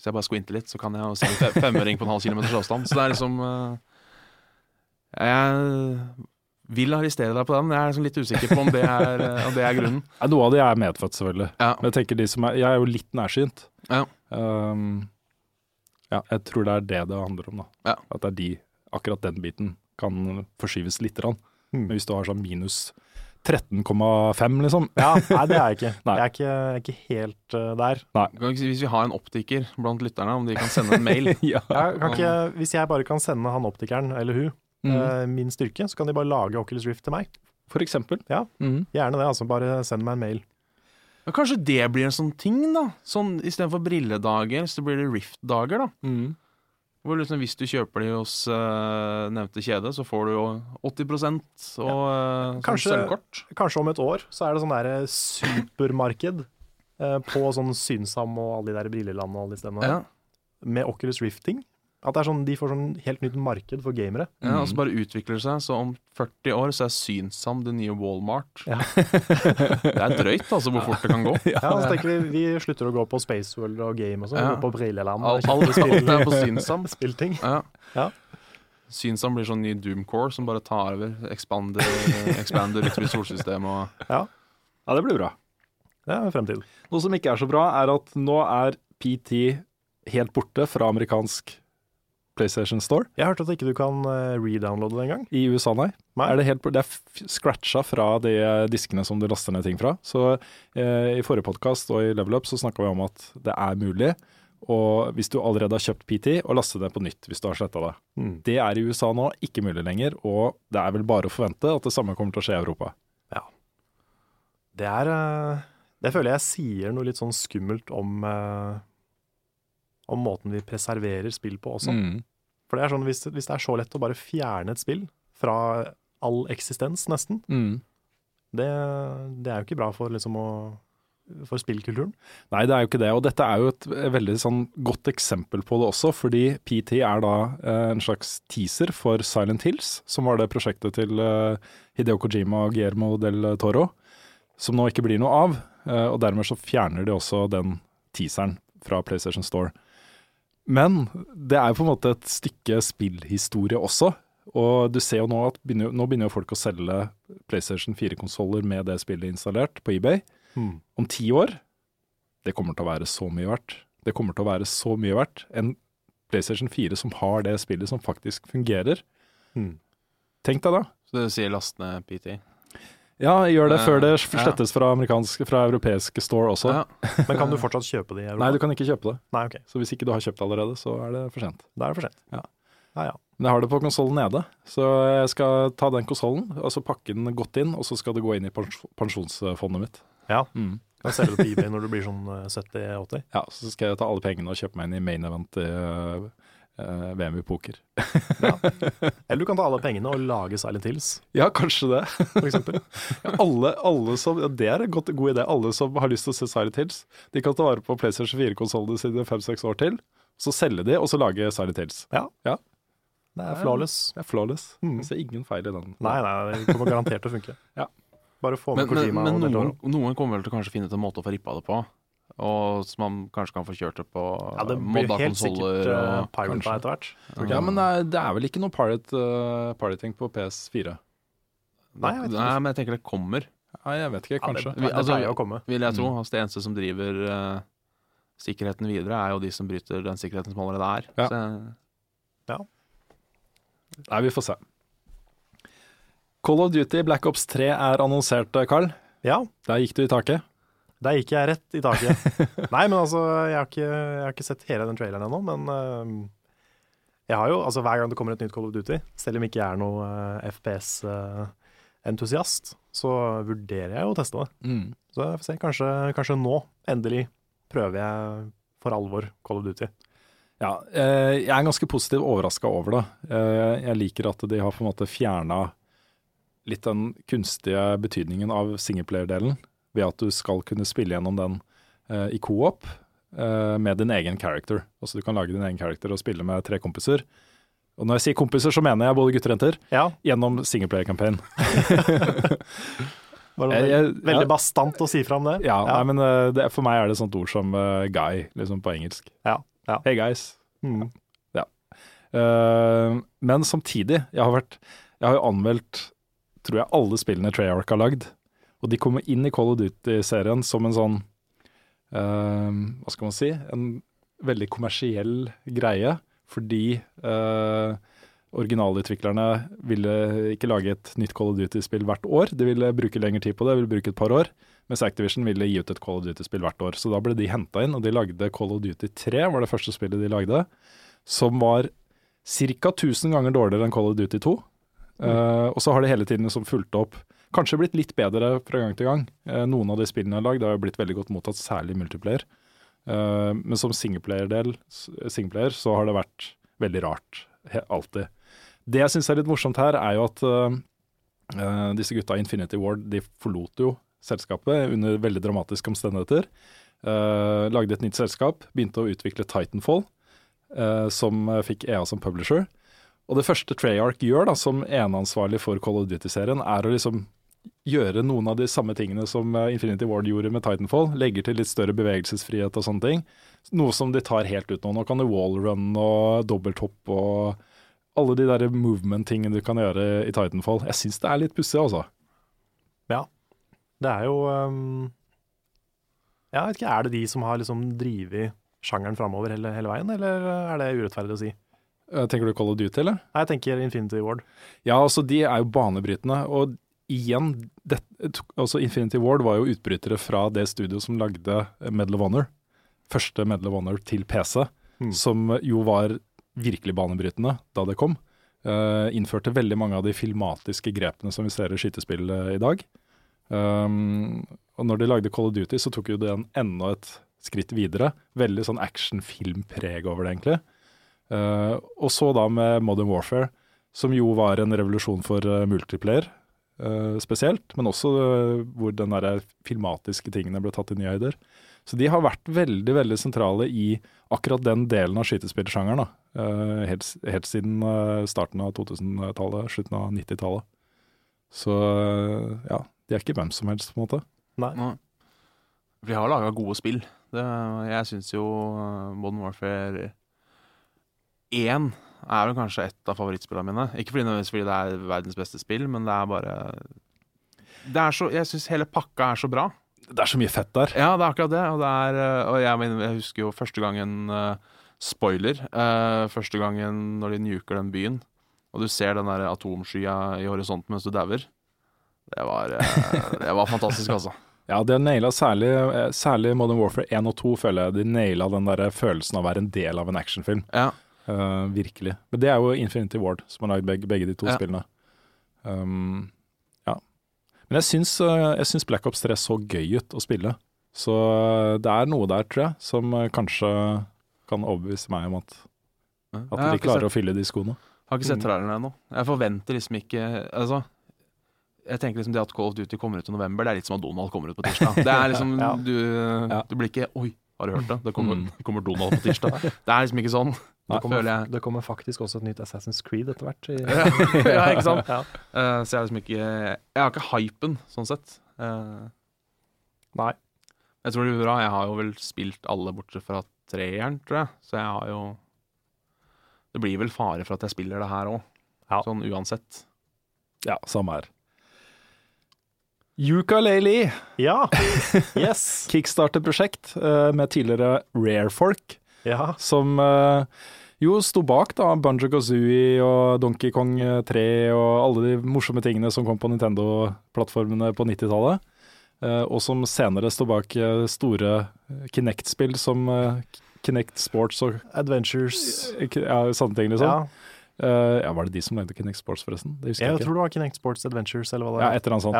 A: Hvis jeg bare squinter litt, så kan jeg jo se en fe- femøring på en halv kilometers avstand. Så det er liksom eh, Jeg vil arrestere deg på den, men jeg er liksom litt usikker på om det er, eh, om det er grunnen.
C: Nei, Noe av det er medfødt, selvfølgelig.
A: Ja.
C: Men jeg tenker de som er Jeg er jo litt nærsynt.
A: Ja.
C: Ehm, ja, jeg tror det er det det handler om, da.
A: Ja.
C: At det er de, akkurat den biten kan forskyves lite grann.
B: Mm.
C: Men hvis du har sånn minus 13,5, liksom
B: Ja, nei, det er jeg ikke.
C: Nei.
B: Jeg er ikke, jeg er ikke helt uh, der.
A: Kan vi ikke si- Hvis vi har en optiker blant lytterne, om de kan sende en mail
C: ja.
B: Jeg kan ikke, hvis jeg bare kan sende han optikeren, eller hun,
C: Mm.
B: eh, min styrke, så kan de bare lage Oculus Rift til meg.
C: For eksempel.
B: Ja.
C: Mm.
B: Gjerne det, altså. Bare send meg en mail.
A: Ja, Kanskje det blir en sånn ting, da. Sånn, Istedenfor brilledager, så blir det Rift-dager, da.
C: Mm.
A: Hvor liksom, hvis du kjøper de hos eh, nevnte kjede, så får du jo 80 og eh, sånn
B: Kanskje-
A: sølvkort.
B: Kanskje om et år så er det sånn der supermarked eh, på sånn Synsam og alle de der brilleland og alle de stedene. der.
A: Ja.
B: Med Oculus Rifting. At det er sånn, de får sånn helt nytt marked for gamere.
A: Ja, og så bare utvikler det seg, så om 40 år så er Synsam det nye Walmart.
B: Ja.
A: Det er drøyt, altså, hvor fort det kan gå.
B: Ja, og så
C: altså,
B: tenker vi vi slutter å gå på Space World og game og sånn.
A: Ja.
B: Vi går på Brilleland og
A: Alt, alt, alt er på Synsam.
B: spillting.
A: Ja.
B: Ja.
A: Synsam blir sånn ny Doomcore som bare tar over, expander, eh, expander utover solsystemet og
C: ja, det blir bra.
B: Det er fremtiden.
C: Noe som ikke er så bra, er at nå er PT helt borte fra amerikansk PlayStation Store.
B: Jeg hørte at ikke du kan eh, redownloade det engang.
C: I USA, nei.
B: Nei.
C: Er det, helt, det er f- scratcha fra de eh, diskene som du laster ned ting fra. Så eh, i forrige podkast og i Level Up så snakka vi om at det er mulig. Og hvis du allerede har kjøpt PT, å laste det på nytt hvis du har sletta det.
A: Hmm.
B: Mm.
C: Det er i USA nå ikke mulig lenger, og det er vel bare å forvente at det samme kommer til å skje i Europa.
B: Det er eh, Det føler jeg sier noe litt sånn skummelt om eh, om måten vi preserverer spill på
A: Hmm.
B: også.
C: Mm.
B: For det er sånn, hvis, hvis det er så lett å bare fjerne et spill fra all eksistens, nesten,
C: Mm.
B: det, det er jo ikke bra for, liksom, å, for spillkulturen.
C: Nei, det er jo ikke det. Og dette er jo et veldig sånn godt eksempel på det også, fordi PT er da eh, en slags teaser for Silent Hills, som var det prosjektet til eh, Hideo Kojima og Guillermo del Toro, som nå ikke blir noe av. Eh, og dermed så fjerner de også den teaseren fra PlayStation Store. Men det er jo på en måte et stykke spillhistorie også. Og du ser jo nå at begynner, nå begynner jo folk å selge PlayStation 4-konsoller med det spillet installert på eBay.
A: Hmm.
C: Om ti år det kommer til å være så mye verdt. Det kommer til å være så mye verdt. En PlayStation 4 som har det spillet som faktisk fungerer.
B: Mm.
A: Hmm.
C: Tenk deg da.
A: Så det sier last ned PT.
C: Ja, gjør det
A: Ja,
C: før det
A: ja.
C: slettes fra amerikansk, fra europeiske store også.
A: Ja.
B: Men kan du fortsatt kjøpe det i Europa?
C: Nei, du kan ikke kjøpe det.
B: Nei, ok.
C: Så hvis ikke du har kjøpt det allerede, så er det for sent.
B: Da er det for sent.
C: Ja.
B: ja. ja.
C: Men jeg har det på konsollen nede, så jeg skal ta den konsollen, og så pakke den godt inn, og så skal det gå inn i pens- pensjonsfondet mitt.
B: Ja.
C: Mm.
B: Da selger du på eBay når du blir sånn eh, 70-80.
C: Ja, så skal jeg ta alle pengene og kjøpe meg inn i main event i øh, øh, VM i poker.
B: Eller du kan ta alle pengene og lage Silent Hills,
C: Ja, kanskje det.
B: for eksempel.
C: alle, alle som, ja, det er en godt, god idé. Alle som har lyst til å se Silent Hills, de kan ta vare på PlayStation 4-konsollene sine fem-seks år til, så selge de, og så lage Silent Hills.
B: Ja.
C: Ja.
B: Det er flawless.
C: Det er flawless.
B: Mm.
C: Jeg ser ingen feil i den.
B: Nei, nei, det kommer garantert til å funke.
C: Ja.
B: Bare få
A: Men,
B: med
A: men,
B: Kojima
A: men
B: og Del
A: noen,
B: Toro.
A: noen kommer vel til å kanskje finne ut en måte å få rippa det på. Og som man kanskje kan få kjørt det på
B: Ja, det blir
A: modda
B: helt sikkert
A: konsoller
B: uh,
A: og
B: pirata
C: kanskje.
B: etter hvert.
C: Ja, men det er, det er vel ikke noe pirate, uh, pirating på PS4?
B: Nei, jeg vet ikke.
A: Nei, men jeg tenker det kommer,
C: Nei, jeg vet ikke,
B: Ja, det,
C: kanskje.
B: det
A: Altså,
B: pleier å komme.
A: vil jeg tro. Altså, det eneste som driver eh, sikkerheten videre, er jo de som bryter den sikkerheten som allerede er.
C: Ja.
A: Så jeg-
C: Nei, vi får se. Call of Duty Black Ops 3 er annonsert, Carl.
B: Ja,
C: Der gikk du i taket.
B: Der gikk jeg rett i taket. Nei, men altså, jeg har ikke, jeg har ikke sett hele den traileren ennå, men øhm, Jeg har jo, altså Hver gang det kommer et nytt Call of Duty, selv om jeg ikke er noe eh, FPS-entusiast, så vurderer jeg jo å teste det.
C: Mm.
B: Så jeg får se, kanskje, kanskje nå, endelig, prøver jeg for alvor Call of Duty.
C: Ja, eh, jeg er ganske positivt overraska over det. Eh, jeg liker at de har på en måte fjerna litt den kunstige betydningen av singleplayer-delen, ved at du skal kunne spille gjennom den eh, i co-op eh, med din egen character. Altså du kan lage din egen character og spille med tre kompiser. Og når jeg sier kompiser, så mener jeg både gutter og jenter.
B: Ja,
C: Gjennom singleplayer-campaign.
B: var det
C: Jeg-
B: veldig,
C: jeg-
B: veldig
C: ja.
B: bastant å si fra om det.
C: Ja, Nei, men eh, det, for meg er det et sånt ord som eh, guy, liksom på engelsk.
B: ja, ja.
C: Hey guys.
B: Mm.
C: Eh, men samtidig, jeg har, vært, jeg har jo anmeldt tror jeg alle spillene Treyarch har lagd. Og de kommer inn i Call of Duty-serien som en sånn eh, Hva skal man si? En veldig kommersiell greie. Fordi eh, originalutviklerne ville ikke lage et nytt Call of Duty-spill hvert år. De ville bruke lengre tid på det, ville bruke et par år. Mens Activision ville gi ut et Call of Duty-spill hvert år. Så da ble de henta inn, og de lagde Call of Duty 3, var det første spillet de lagde. Som var ca. 1000 ganger dårligere enn Call of Duty 2. Eh, og så har det hele tiden liksom fulgt opp. Kanskje blitt litt bedre fra gang til gang. Eh, noen av de spillene jeg har lagd har jo blitt veldig godt mottatt, særlig multiplayer. Eh, men som singleplayer-del, s- singleplayer, så har det vært veldig rart. He alltid. Det jeg syns er litt morsomt her, er jo at eh, eh, disse gutta i Infinity Ward de forlot jo selskapet under veldig dramatiske omstendigheter. Eh, lagde et nytt selskap, begynte å utvikle Titanfall, eh, som eh, fikk EA som publisher. Og det første Treyarch gjør da, som eneansvarlig for Call of Duty-serien, er å liksom gjøre noen av de samme tingene som eh, Infinity Ward gjorde med Titanfall. Legger til litt større bevegelsesfrihet og sånne ting. Noe som de tar helt ut nå. Nå kan du wallrun og dobbelthopp og alle de der movement-tingene du kan gjøre i Titanfall. Jeg syns det er litt pussig, altså.
B: Det er jo ehm, Jeg vet ikke, er det de som har liksom drivet sjangeren framover hele, hele veien, eller er det urettferdig å si?
C: Eh, Tenker du Call of Duty, eller?
B: Nei, jeg tenker Infinity Ward.
C: Ja, altså de er jo banebrytende, og igjen, det, altså Infinity Ward var jo utbrytere fra det studio som lagde Medal of Honor, første Medal of Honor til PC,
B: Mm.
C: som jo var virkelig banebrytende da det kom. Eh, innførte veldig mange av de filmatiske grepene som vi ser i skytespill eh, i dag. Um, og når de lagde Call of Duty, så tok jo det en enda et skritt videre. Veldig sånn actionfilmpreg over det, egentlig. Eh, og så da med Modern Warfare, som jo var en revolusjon for eh, multiplayer eh, spesielt, men også eh, hvor den der filmatiske tingene ble tatt i nye høyder. Så de har vært veldig veldig sentrale i akkurat den delen av skytespillsjangeren. da, eh, helt, s- helt siden eh, starten av 2000-tallet, slutten av 90-tallet. Så eh, ja, de er ikke hvem som helst, på en måte.
A: Nei. For de har laga gode spill. Det, jeg syns jo eh, Modern Warfare 1 er vel kanskje et av favorittspillene mine. Ikke fordi, nødvendigvis fordi det er verdens beste spill, men det er bare det er så, Jeg syns hele pakka er så bra.
C: Det er så mye fett der.
A: Ja, det er akkurat det. Og, det er, eh, og jeg, mener, jeg husker jo første gangen eh, Spoiler. eh, første gangen når de nuker den byen, og du ser den der atomskya i horisonten mens du dauer. Det var, eh, det var fantastisk, altså.
C: Ja, de har naila særlig, eh, særlig Modern Warfare 1 og 2, føler jeg. De naila den der følelsen av å være en del av en actionfilm.
A: Ja.
C: Eh, virkelig. Men det er jo Infinity Ward som har lagd begge, begge de to
A: Ja.
C: spillene. Um, ja. Men jeg syns, eh, jeg syns Black Ops 3 så gøy ut å spille. Så eh, det er noe der, tror jeg, som eh, kanskje kan overbevise meg om at, at
A: Jeg har
C: de
A: ikke
C: klarer å fylle de skoene.
A: Har ikke sett traileren ennå. Jeg forventer liksom ikke Altså, jeg tenker liksom det at Call of Duty kommer ut i november, det er litt som at Donald kommer ut på tirsdag. Det er liksom
B: Ja.
A: du,
C: Ja.
A: du blir ikke Oi, har du hørt det? Det kommer,
C: Mm.
A: kommer Donald på tirsdag. Det er liksom ikke sånn.
C: Nei.
A: Det føler jeg.
B: Det kommer faktisk også et nytt Assassin's Creed etter hvert. i-
A: ja, ikke sant?
B: Ja.
A: Eh, så jeg er liksom ikke Jeg har ikke hypen, sånn sett. Eh,
B: Nei.
A: Jeg tror det blir bra. Jeg har jo vel spilt alle bortsett fra treeren, tror jeg. Så jeg har jo Det blir vel fare for at jeg spiller det her òg,
B: Ja.
A: sånn uansett.
C: Ja, samme her. Ukulele
B: Ja! Yes!
C: kickstarter-prosjekt eh, med tidligere Rare-folk.
B: Ja.
C: som eh, jo sto bak da Banjo Kazooie og Donkey Kong 3 og alle de morsomme tingene som kom på Nintendo-plattformene på 90-tallet. eh, og som senere står bak eh, store Kinect-spill som eh, Kinect Sports og
B: Adventures.
C: ja, sånne ting, liksom.
B: Ja,
C: Eh, ja, var det de som lagde Kinect Sports, forresten? Det husker jeg,
B: jeg
C: ikke.
B: tror det var Kinect Sports Adventures, eller hva det
C: Ja,
B: var.
C: et eller annet sånt.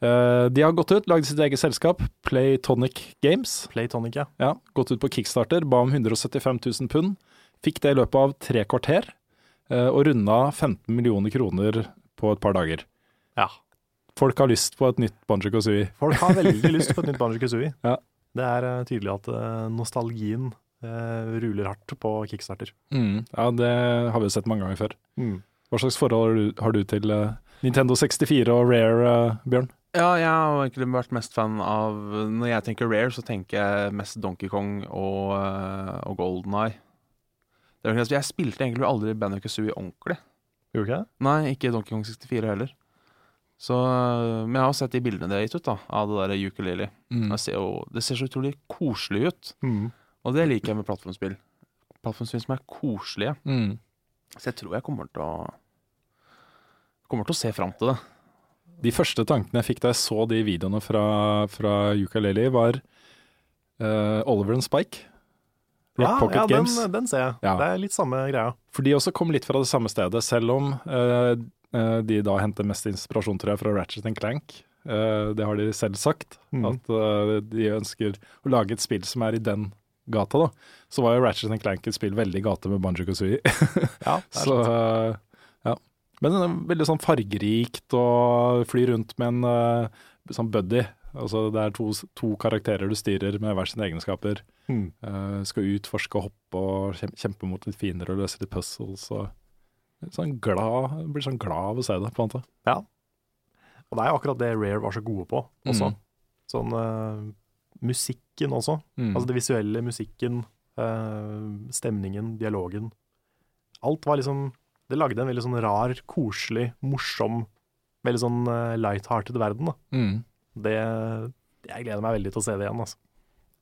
B: Ja.
C: Eh, de har gått ut, lagd sitt eget selskap, Playtonic Games.
B: Playtonic, ja.
C: Ja, gått ut på kickstarter, ba om 175 000 pund. Fikk det i løpet av tre kvarter, eh, og runda 15 millioner kroner på et par dager.
B: Ja.
C: Folk har lyst på et nytt Banjo Kazooie.
B: Folk har veldig lyst på et nytt Banjo Kazooie.
C: Ja.
B: Det er eh, tydelig at eh, nostalgien eh, ruler hardt på kickstarter. Mm.
C: Ja, det har vi jo sett mange ganger før. Hva slags forhold har du, har du til eh, Nintendo 64 og Rare, eh, Bjørn?
A: Ja, jeg har egentlig vært mest fan av Når jeg tenker Rare, så tenker jeg mest Donkey Kong og, eh, og Golden Eye. Det er jo ikke det- jeg spilte egentlig aldri Banjo Kazooie ordentlig.
B: Gjorde du ikke det?
A: Nei, ikke Donkey Kong 64 heller. Så, eh, men jeg har sett de bildene de har gitt ut da av det der ukulele.
B: Mm.
C: Mm.
A: Det, ser jo- det ser så utrolig koselig ut, og det liker jeg med plattformspill. Plattformspill som er koselige.
C: Mm.
A: Så jeg tror jeg kommer til å Kommer til å se fram til det.
C: De første tankene jeg fikk da jeg så de videoene fra, fra Ukulele, var eh, Oliver and Spike. Rock
B: Ja,
C: Pocket
B: Ah, ja den,
C: Games.
B: den ser jeg.
C: Ja.
B: Det er litt samme greia.
C: For de også kom litt fra det samme stedet, selv om eh, eh, de da henter mest inspirasjon, tror jeg, fra Ratchet Clank. Eh, det har de selv sagt,
B: Mhm.
C: at eh, de ønsker å lage et spill som er i den gata, da. Så var jo Ratchet Clank et spill veldig i gata med Banjo Kazooie.
B: Ja, det er
C: Så, eh, ja. Men den er veldig sånn fargerikt og flyr rundt med en eh, sånn buddy. Altså det er to, to karakterer du styrer med hver sine egenskaper.
B: Mm.
C: Eh, skal utforske og hoppe og kjem- kjempe mot litt fiender og løse litt puzzles. Og litt sånn glad, blir sånn glad av å se det, på en måte.
B: Og det er jo akkurat det Rare var så gode på også.
C: Mm.
B: Sånn eh, musikken også.
C: Mm.
B: Altså det visuelle, musikken, eh, stemningen, dialogen. Alt var liksom Det lagde en veldig sånn rar, koselig, morsom, veldig sånn eh, light-hearted verden, da.
C: mm.
B: Det Jeg gleder meg veldig til å se det igjen, altså.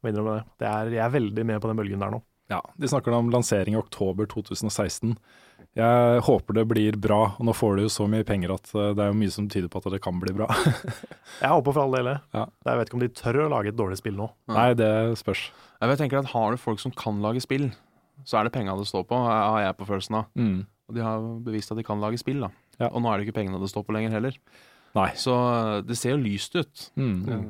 B: Må innrømme det. det er, jeg er veldig med på den bølgen der nå.
C: Ja, De snakker om lansering i oktober 2016. Jeg håper det blir bra. og Nå får du jo så mye penger at eh, det er jo mye som tyder på at det kan bli bra.
B: Jeg håper for all del det.
C: Ja.
B: Jeg vet ikke om de tør å lage et dårlig spill nå.
C: Nei, det spørs.
A: Jeg vet, jeg tenker at Har du folk som kan lage spill, så er det penga det står på, har jeg på følelsen av.
C: Mm.
A: Og de har bevist at de kan lage spill, da.
C: Ja.
A: Og nå er det ikke pengene det står på lenger heller.
C: Nei.
A: Så eh, det ser jo lyst ut.
C: Mm.
A: Eh,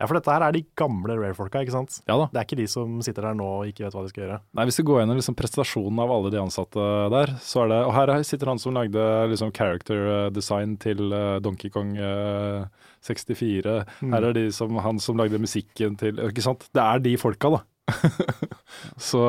B: Ja, For dette her er de gamle Rare-folka, ikke sant?
C: Ja da.
B: Det er ikke de som sitter der nå og ikke vet hva de skal gjøre.
C: Nei, Hvis du går gjennom liksom prestasjonen av alle de ansatte der, så er det Og her sitter han som lagde liksom character eh, design til eh, Donkey Kong eh, 64. Her er de som, han som lagde musikken til Ikke sant? Det er de folka, da. så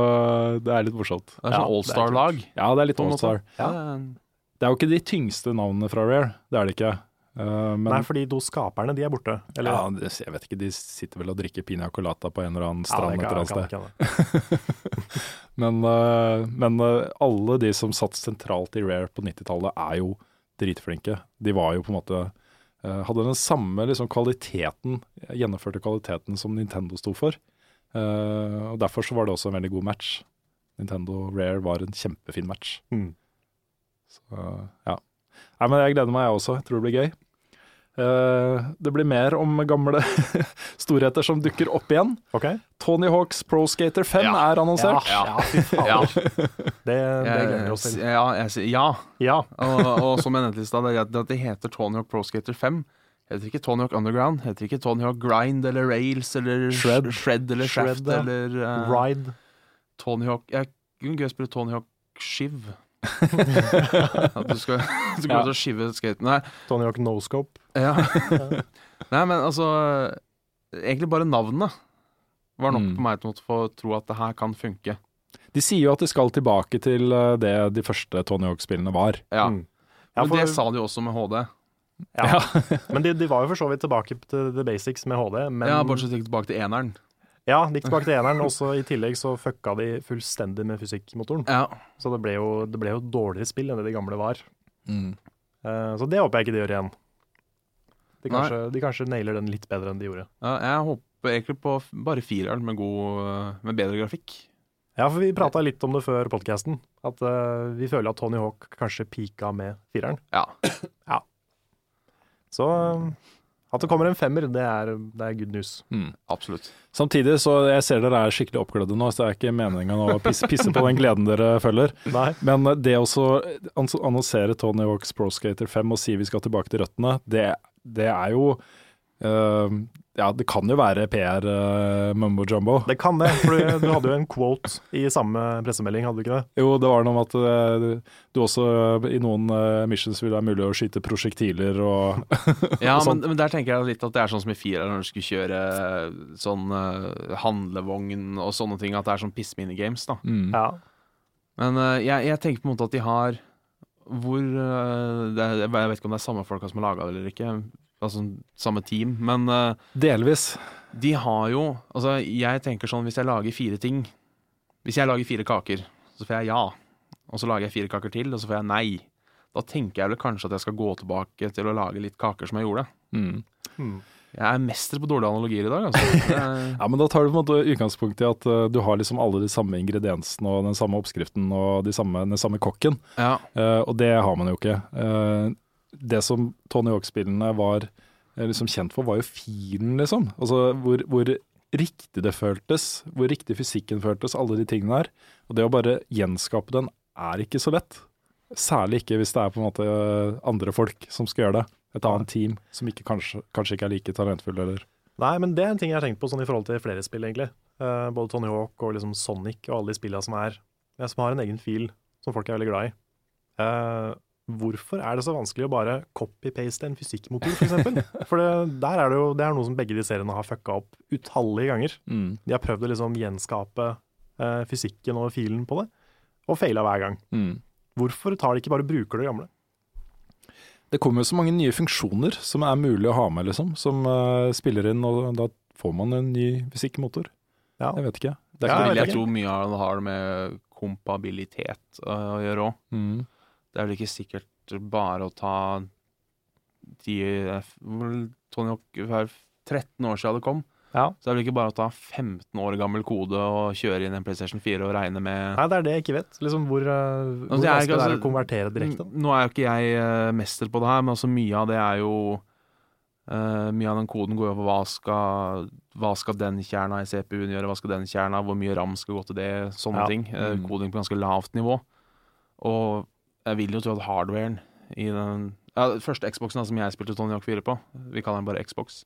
C: det er litt morsomt.
A: Det er
B: Ja,
A: sånn Eh, allstar-lag.
C: Ja, det er litt
A: På en måte.
C: Allstar. Det er jo ikke de tyngste navnene fra Rare, det er det ikke. Eh, men
B: Nei, fordi de skaperne, de er borte. Eller?
C: ja, det- jeg vet ikke, de sitter vel og drikker piña colata på en eller annen strand
B: det
C: et
B: kan-
C: eller annet
B: kan-
C: sted.
B: kan-
C: Men, eh, men eh, alle de som satt sentralt i Rare på 90-tallet, er jo dritflinke. De var jo på en måte eh, Hadde den samme liksom, kvaliteten, gjennomførte kvaliteten som Nintendo sto for. Eh, og Derfor så var det også en veldig god match. Nintendo Rare var en kjempefin match.
B: Mm.
C: Så eh, ja. Nei, men jeg gleder meg, jeg også. Jeg tror det blir gøy. Eh, det blir mer om gamle storheter som dukker opp igjen.
B: Ok.
C: Tony Hawks Pro Skater 5
A: Ja.
C: er annonsert.
B: Ja, ja, fy fader. Det, det
A: Jeg-
B: gleder vi oss til.
A: ja, jeg sier ja.
B: Ja,
A: Og, og som jeg nevnte i stad, det er at det heter Tony Hawk Pro Skater 5. Heter ikke Tony Hawk Underground, heter ikke Tony Hawk Grind eller Rails eller
C: Shred.
A: Shred, eller
B: Shred,
A: Shaft
B: ja.
A: eller eh,
B: Ride.
A: Tony Hawk Jeg kunne gøy å spille Tony Hawk Shiv. At du skal, du skal
C: Ja.
A: ja. skive skaten. Nei,
B: Tony Hawk No Scope.
A: Ja. Nei, men altså Egentlig bare navnet var nok
C: Mm.
A: på meg til å få tro at det her kan funke.
C: De sier jo at de skal tilbake til eh, det de første Tony Hawk-spillene var.
A: Ja.
B: Mm. Ja,
A: men
B: for-
A: det sa de jo også med HD.
B: Ja. Men de, de var jo for så vidt tilbake til the basics med HD. Men
A: Ja, Bortsett ikke tilbake til eneren.
B: ja, de gikk tilbake til eneren, og så i tillegg så fucka de fullstendig med fysikkmotoren.
A: Ja.
B: Så det ble, jo, det ble jo et dårligere spill enn det de gamle var. Eh, så det håper jeg ikke de gjør igjen. De
A: Nei.
B: kanskje, de kanskje nailer den litt bedre enn de gjorde.
A: ja. Jeg håper egentlig på f- bare fireren med, god, eh, med bedre grafikk.
B: Ja, for vi prata litt om det før podkasten, at eh, vi føler at Tony Hawk kanskje pika med fireren.
A: Ja.
B: Så eh, At det kommer en femmer, det er, det er good news.
A: Absolutt.
C: Samtidig så jeg ser dere er skikkelig oppglødde nå, så det er ikke meningen å pisse, pisse på den gleden dere føler.
B: Nei.
C: Men eh, det å så ans- annonsere Tony Hawks Pro Skater 5 og si vi skal tilbake til røttene, det, det er jo eh, Ja, det kan jo være PR eh, mumbo jumbo.
B: Det kan det, for du, du hadde jo en quote i samme pressemelding, hadde du ikke det?
C: Jo, det var noe om at eh, du også eh, i noen eh, missions vil være mulig å skyte prosjektiler og
A: Ja,
C: Og
A: men, men der tenker jeg litt at det er sånn som i fireren når du skulle kjøre sånn eh, handlevogn og sånne ting, at det er sånn pissminigames, da.
B: Ja.
A: Men eh, jeg, jeg tenker på en måte at de har hvor eh, det, er- Jeg vet ikke om det er samme folka som har laga det eller ikke, altså samme team, men eh,
C: Delvis.
A: De har jo Altså, jeg tenker sånn hvis jeg lager fire ting Hvis jeg lager fire kaker, så får jeg ja. Og så lager jeg fire kaker til, og så får jeg nei. Da tenker jeg vel kanskje at jeg skal gå tilbake til å lage litt kaker som jeg gjorde.
C: Mm.
A: Jeg er mester på dårlige analogier i dag, altså. Det er-
C: Ja, men da tar du på en måte utgangspunkt i at eh, du har liksom alle de samme ingrediensene og den samme oppskriften og de samme, den samme kokken,
A: Ja,
C: Eh, og det har man jo ikke. Eh, det som Tony Hawk-spillene var eh, liksom kjent for, var jo filen, liksom. Altså hvor, hvor riktig det føltes, hvor riktig fysikken føltes, alle de tingene her. Og det å bare gjenskape den er ikke så lett. Særlig ikke hvis det er på en måte eh, andre folk som skal gjøre det. Et annet team som ikke, kanskje, kanskje ikke er like talentfulle, eller
B: Nei, men det er en ting jeg har tenkt på sånn i forhold til flere spill, egentlig. Eh, både Tony Hawk og liksom Sonic og alle de spillene som er ja, Som har en egen fil som folk er veldig glad i. Eh, hvorfor er det så vanskelig å bare copy-paste en fysikkmotor, f.eks.? For, eksempel? for det, der er det jo det er noe som begge de seriene har fucka opp utallige ganger. De har prøvd å liksom gjenskape eh, fysikken og filen på det, og faila hver gang. Hvorfor tar de ikke bare og bruker det gamle?
C: Det kommer jo så mange nye funksjoner som er mulig å ha med, liksom. Som eh, spiller inn, og da får man en ny fysikkmotor.
B: Ja.
C: Jeg vet ikke.
A: det
C: Det er
B: Ja,
C: ikke
A: vil
C: veldig
A: jeg
B: ikke.
A: tro mye av det har med kompabilitet øh, å gjøre òg.
C: Mm.
A: Det er vel ikke sikkert bare å ta de hvor- Tony Hawk var 13 år siden det kom.
B: Ja.
A: Så det er vel ikke bare å ta 15 år gammel kode og kjøre inn en PlayStation 4 og regne med
B: Nei, det er det jeg ikke vet. Liksom hvor, eh, hvor
A: det er
B: vanskelig
A: ikke-
B: det er
A: altså-
B: å konvertere direkte.
A: N- Nå er jo ikke jeg eh, mester på det her, men altså mye av det er jo eh, Mye av den koden går jo over hva skal, hva skal den kjerna i CPU-en gjøre, hva skal den kjerna, hvor mye ram skal gå til det, sånne
B: Ja.
A: ting. Eh,
C: Mm.
A: koding på ganske lavt nivå. Og jeg vil jo tro at hardwaren i den ja, den første Xboxen da, som jeg spilte Tony Hawk 4 på, vi kaller den bare Xbox,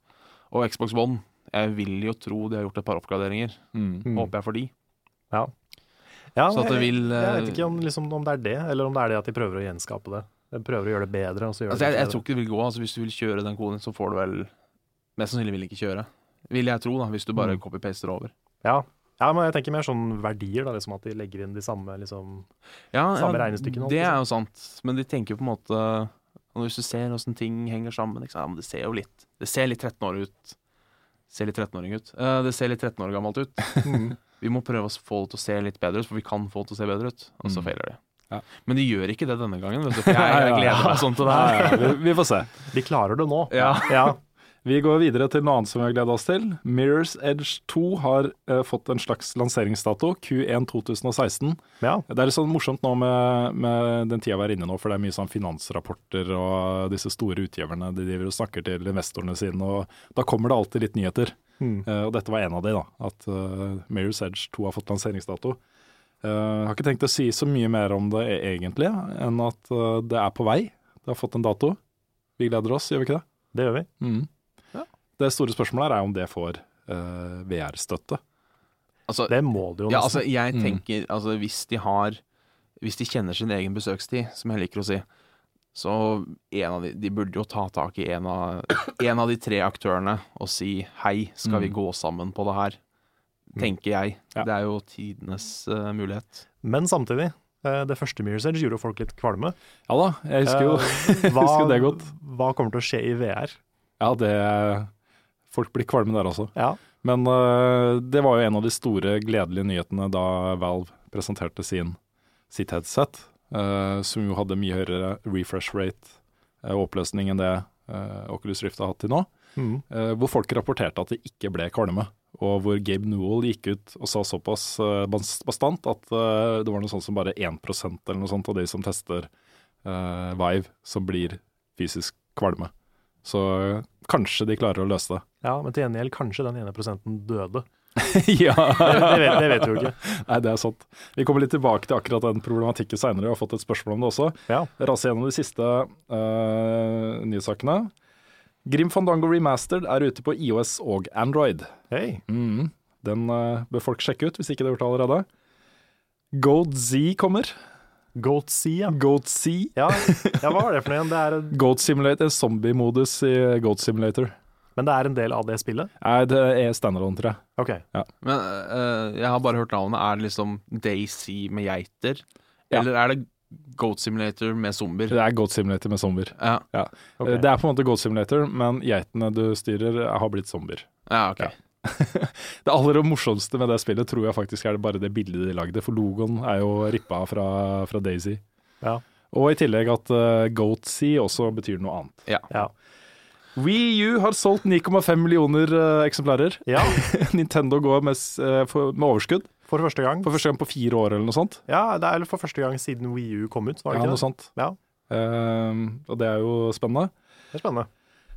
A: og Xbox One Jeg vil jo tro de har gjort et par oppgraderinger,
C: Mm.
A: håper jeg for de.
B: Ja,
A: Så at det
B: jeg-
A: vil
B: Jeg
A: eh,
B: vet ikke om, liksom, om det er det, eller om det er det at de prøver å gjenskape det. De prøver å gjøre det bedre. Og så gjør
A: Altså,
B: de
A: jeg,
B: det
A: jeg tror ikke det vil gå. Altså, hvis du vil kjøre den koden, så får du vel Mest sannsynlig vil den ikke kjøre. Vil jeg tro, da, hvis du bare
B: Mm.
A: copy-paster over.
B: Ja. ja, men jeg tenker mer sånn verdier, da, liksom, at de legger inn de samme liksom
A: Ja,
B: Samme liksom.
A: ja,
B: regnestykken, holdt
A: Det
B: jeg på å
A: er jo sant, men de tenker jo på en måte og Hvis du ser åssen ting henger sammen ikke sant? Ja, men Det ser jo litt Det ser litt 13 år ut. Ser litt 13-åring ut. Eh, det ser litt 13 år gammelt ut.
B: Mm.
A: Vi må prøve å få det til å se litt bedre ut, for vi kan få det til å se bedre ut. Og så
C: Mm.
A: feiler de.
C: Ja.
A: Men de gjør ikke det denne gangen. Vet du, for jeg, jeg gleder meg sånn til det her.
C: Ja, ja, vi, vi får se.
B: De klarer det nå.
A: Ja.
B: Ja.
C: Vi går videre til noe annet som vi har gleda oss til. Mirrors Edge 2 har eh, fått en slags lanseringsdato, Q1 2016.
B: ja.
C: Det er litt sånn morsomt nå med, med den tida vi er inne nå, for det er mye sånn finansrapporter og disse store utgiverne de driver og snakker til investorene sine, og da kommer det alltid litt nyheter.
B: Mm.
C: Eh, og dette var en av de, da. At uh, Mirror's Edge 2 har fått lanseringsdato. Eh, Jeg har ikke tenkt å si så mye mer om det e- egentlig, enn at eh, det er på vei. Det har fått en dato. Vi gleder oss, gjør vi ikke det? Mm.
B: Det gjør vi.
C: Det store spørsmålet her er om det får eh, VR-støtte.
A: Altså,
B: Det må de jo
A: Ja,
B: nesten.
A: altså jeg
C: Mm.
A: tenker altså, Hvis de har Hvis de kjenner sin egen besøkstid, som jeg liker å si så en av de, de burde jo ta tak i en av, en av de tre aktørene og si hei, skal vi
C: Mm.
A: gå sammen på det her? Tenker jeg.
C: Ja.
A: Det er jo tidenes eh, mulighet.
B: Men samtidig, eh, det første Mirrors Edge gjorde folk litt kvalme.
C: Ja da, jeg husker jo
B: Eh, hva,
C: husker det godt.
B: Hva kommer til å skje i VR?
C: Ja, det Folk blir kvalme der også.
B: Ja.
C: Men eh, det var jo en av de store gledelige nyhetene da Valve presenterte sin, sitt headset, eh, som jo hadde mye høyere refresh rate eh, og oppløsning enn det eh, Oculus Rift har hatt til nå.
B: Mm.
C: eh, hvor folk rapporterte at det ikke ble kvalme. Og hvor Gabe Newell gikk ut og sa såpass eh, bas- bastant at eh, det var noe sånt som bare 1 eller noe sånt av de som tester eh, Vive, som blir fysisk kvalme. Så kanskje de klarer å løse det.
B: Ja, men til gjengjeld kanskje den ene prosenten døde.
C: ja,
B: Det vet, det vet vi jo ikke.
C: Nei, det er sant. Vi kommer litt tilbake til akkurat den problematikken seinere, og har fått et spørsmål om det også.
B: Ja.
C: Rase gjennom de siste eh, nyhetssakene. Grim Fandango Remastered er ute på IOS og Android.
B: Hei.
C: Mhm. Den eh, bør folk sjekke ut, hvis ikke det er gjort allerede. Goat Z kommer.
B: Goat Sea, ja.
C: Goat Z.
B: ja. Ja, hva var det for noe igjen? Det er en,
C: Goat Simulator, en zombie-modus i Goat Simulator.
B: men det er en del av det spillet?
C: Nei, det er standalone, tror jeg.
B: Ok.
A: Men eh, jeg har bare hørt navnet. Er det liksom Daisy med geiter?
C: Ja.
A: Eller er det Goat Simulator med zombier?
C: Det er Goat Simulator med zombier.
A: Ja,
C: Ja.
B: Ok.
C: Det er på en måte Goat Simulator, men geitene du styrer, har blitt zombier.
A: ja ok.
C: Ja. Det aller morsomste med det spillet tror jeg faktisk er det bare det bildet de lagde, for logoen er jo rippa fra, fra Daisy.
B: Ja.
C: Og i tillegg at uh, Goatsea også betyr noe annet.
B: Ja.
C: Wii U har solgt 9,5 millioner eh, eksemplarer.
B: ja.
C: Nintendo går med, s- eh, for, med overskudd
B: For første gang.
C: for første gang på fire år eller noe sånt.
B: Ja, det er vel for første gang siden Wii U kom ut. Var det
C: Ja,
B: ikke
C: noe
B: det?
C: sånt.
B: Ja,
C: Eh, og det er jo spennende.
B: det er spennende.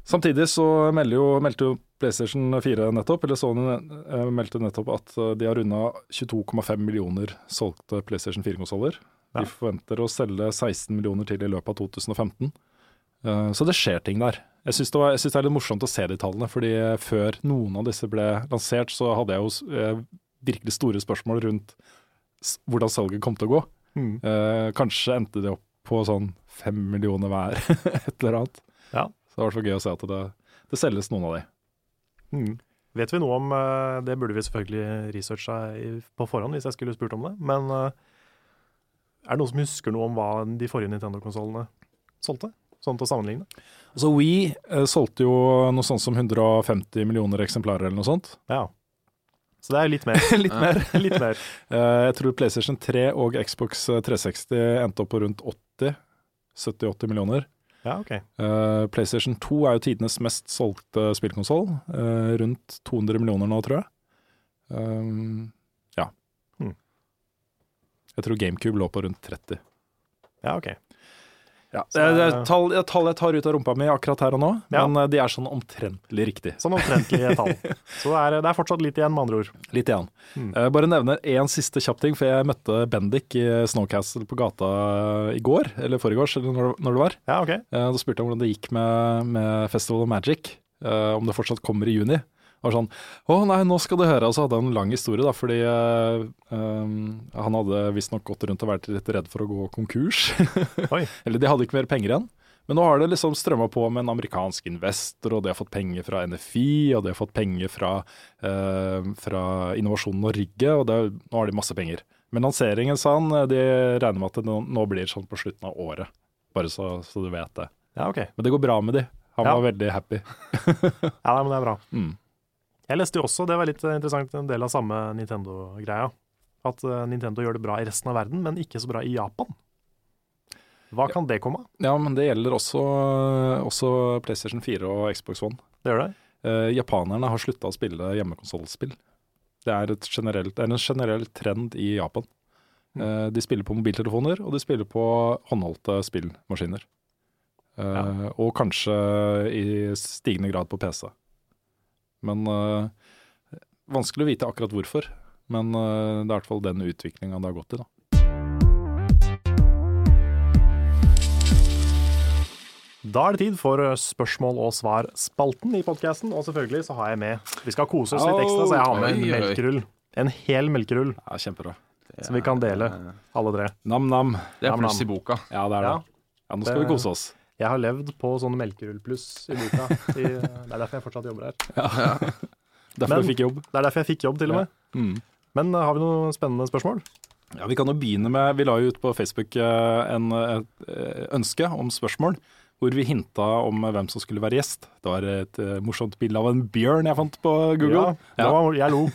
C: Samtidig så melder jo, meldte jo PlayStation 4 nettopp, eller Sony eh, meldte nettopp at eh, de har runda 22,5 millioner solgte PlayStation 4-konsoller.
B: Ja.
C: De forventer å selge 16 millioner til i løpet av 2015. Eh, Så det skjer ting der. Jeg syns det, var- jeg synes det er litt morsomt å se de tallene, fordi før noen av disse ble lansert, så hadde jeg jo s- eh, virkelig store spørsmål rundt s- hvordan salget kom til å gå.
B: Mm.
C: Eh, Kanskje endte de opp på sånn fem millioner hver, et eller annet.
B: Ja.
C: Så det er i hvert fall gøy å se at det, det selges noen av de.
B: Mm. Vet vi noe om eh, Det burde vi selvfølgelig researcha i- på forhånd hvis jeg skulle spurt om det, men eh, er det noen som husker noe om hva de forrige Nintendo-konsollene solgte? Sånn til å sammenligne.
C: Altså We eh, solgte jo noe sånt som 150 millioner eksemplarer eller noe sånt.
B: Ja. Så det er jo litt mer.
C: Litt mer.
B: litt mer.
C: Eh, jeg tror PlayStation 3 og Xbox 360 endte opp på rundt 80. 70-80 millioner.
B: Ja, OK.
C: Eh, PlayStation 2 er jo tidenes mest solgte spillkonsoll. eh, rundt 200 millioner nå, tror jeg. Um, ja.
B: Hmm.
C: Jeg tror GameCube lå på rundt 30.
B: Ja, ok.
C: Ja,
B: Så-
C: det er, det er tall, det er tall jeg tar ut av rumpa mi akkurat her og nå,
B: Ja.
C: men eh, de er sånn omtrentlig riktig.
B: Sånn omtrentlige tall. Så det er, det er fortsatt litt igjen, med andre ord.
C: Litt igjen.
B: Mm.
C: Eh, bare nevner én siste kjapp ting, for jeg møtte Bendik i Snowcastle på gata eh, i går, eller forgårs, eller når, når det var.
B: Ja, OK.
C: Eh, da spurte jeg hvordan det gikk med, med Festival of Magic, eh, om det fortsatt kommer i juni. Og var sånn Å nei, nå skal du høre. Og så hadde han en lang historie, da, fordi eh, eh, han hadde visstnok gått rundt og vært litt redd for å gå konkurs.
B: Oi.
C: Eller de hadde ikke mer penger igjen. Men nå har det liksom strømma på med en amerikansk investor, og de har fått penger fra NFI, og de har fått penger fra, eh, fra Innovasjon Norge, og det, er- nå har de masse penger. Men lanseringen, sa han, eh, de regner med at det nå, nå blir sånn på slutten av året. Bare så, så du vet det.
B: Ja, ok.
C: Men det går bra med de. Han
B: Ja.
C: var veldig happy.
B: Ja, nei, men det er bra.
C: Mm.
B: Jeg leste jo også, det var litt eh, interessant, en del av samme Nintendo-greia. At eh, Nintendo gjør det bra i resten av verden, men ikke så bra i Japan. Hva kan det komme av?
C: Ja, men det gjelder også, også PlayStation 4 og Xbox One.
B: Det gjør det.
C: Eh, japanerne har slutta å spille hjemmekonsollspill. Det er, et generelt, det er en generell trend i Japan. Eh, de spiller på mobiltelefoner, og de spiller på håndholdte spillmaskiner. Eh, Og kanskje i stigende grad på PC. Men eh, vanskelig å vite akkurat hvorfor. Men eh, det er i hvert fall den utviklinga det har gått i, da.
B: Da er det tid for eh, spørsmål og svar-spalten i podkasten. Og selvfølgelig så har jeg med Vi skal kose oss litt ekstra, så jeg har med en
A: Oi, oi, oi.
B: melkerull. En hel melkerull
C: Ja, kjempebra.
B: som vi kan dele, alle tre.
C: Nam-nam.
A: Det er
B: Nam,
A: pluss i
B: nam.
A: boka.
C: Ja, det er det.
B: Ja.
C: Ja, nå skal
B: Det-
C: vi kose oss.
B: Jeg har levd på sånn melkerull pluss i boka. I, det er derfor jeg fortsatt jobber her.
C: Derfor
B: Men-
C: du fikk jobb.
B: Det er derfor jeg fikk jobb, til og med.
C: Mm.
B: Men eh, har vi noen spennende spørsmål?
C: Ja, Vi kan jo begynne med Vi la jo ut på Facebook eh, en, et eh, ønske om spørsmål, hvor vi hinta om eh, hvem som skulle være gjest. Det var et eh, morsomt bilde av en bjørn jeg fant på Google.
B: Ja, det var, jeg lo.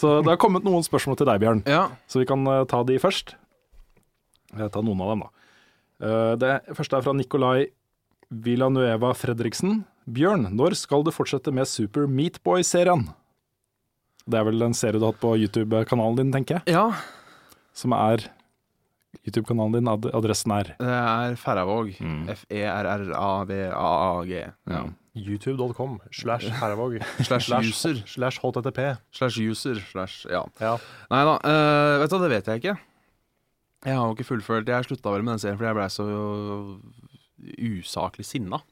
C: Så det har kommet noen spørsmål til deg, Bjørn.
A: Ja.
C: Så vi kan eh, ta de først. Jeg tar noen av dem, da. Eh, Det første er fra Nicolai Villanueva Fredriksen. Bjørn, når skal du fortsette med Super Meatboy-serien? Det er vel en serie du har hatt på YouTube-kanalen din, tenker jeg,
A: ja.
C: som er
B: YouTube-kanalen din ad adressen er?
A: Det er Færøyvåg. F-e-r-r-a-v-a-a-g. Ja.
B: YouTube.com slash Herrevåg
A: Slash user.
B: slash HTTP.
A: Slash user. Slash ja.
B: Ja.
A: Nei da, eh, vet du hva, det vet jeg ikke. Jeg har jo ikke fullført Jeg slutta vel med den serien fordi jeg blei så usaklig sinna.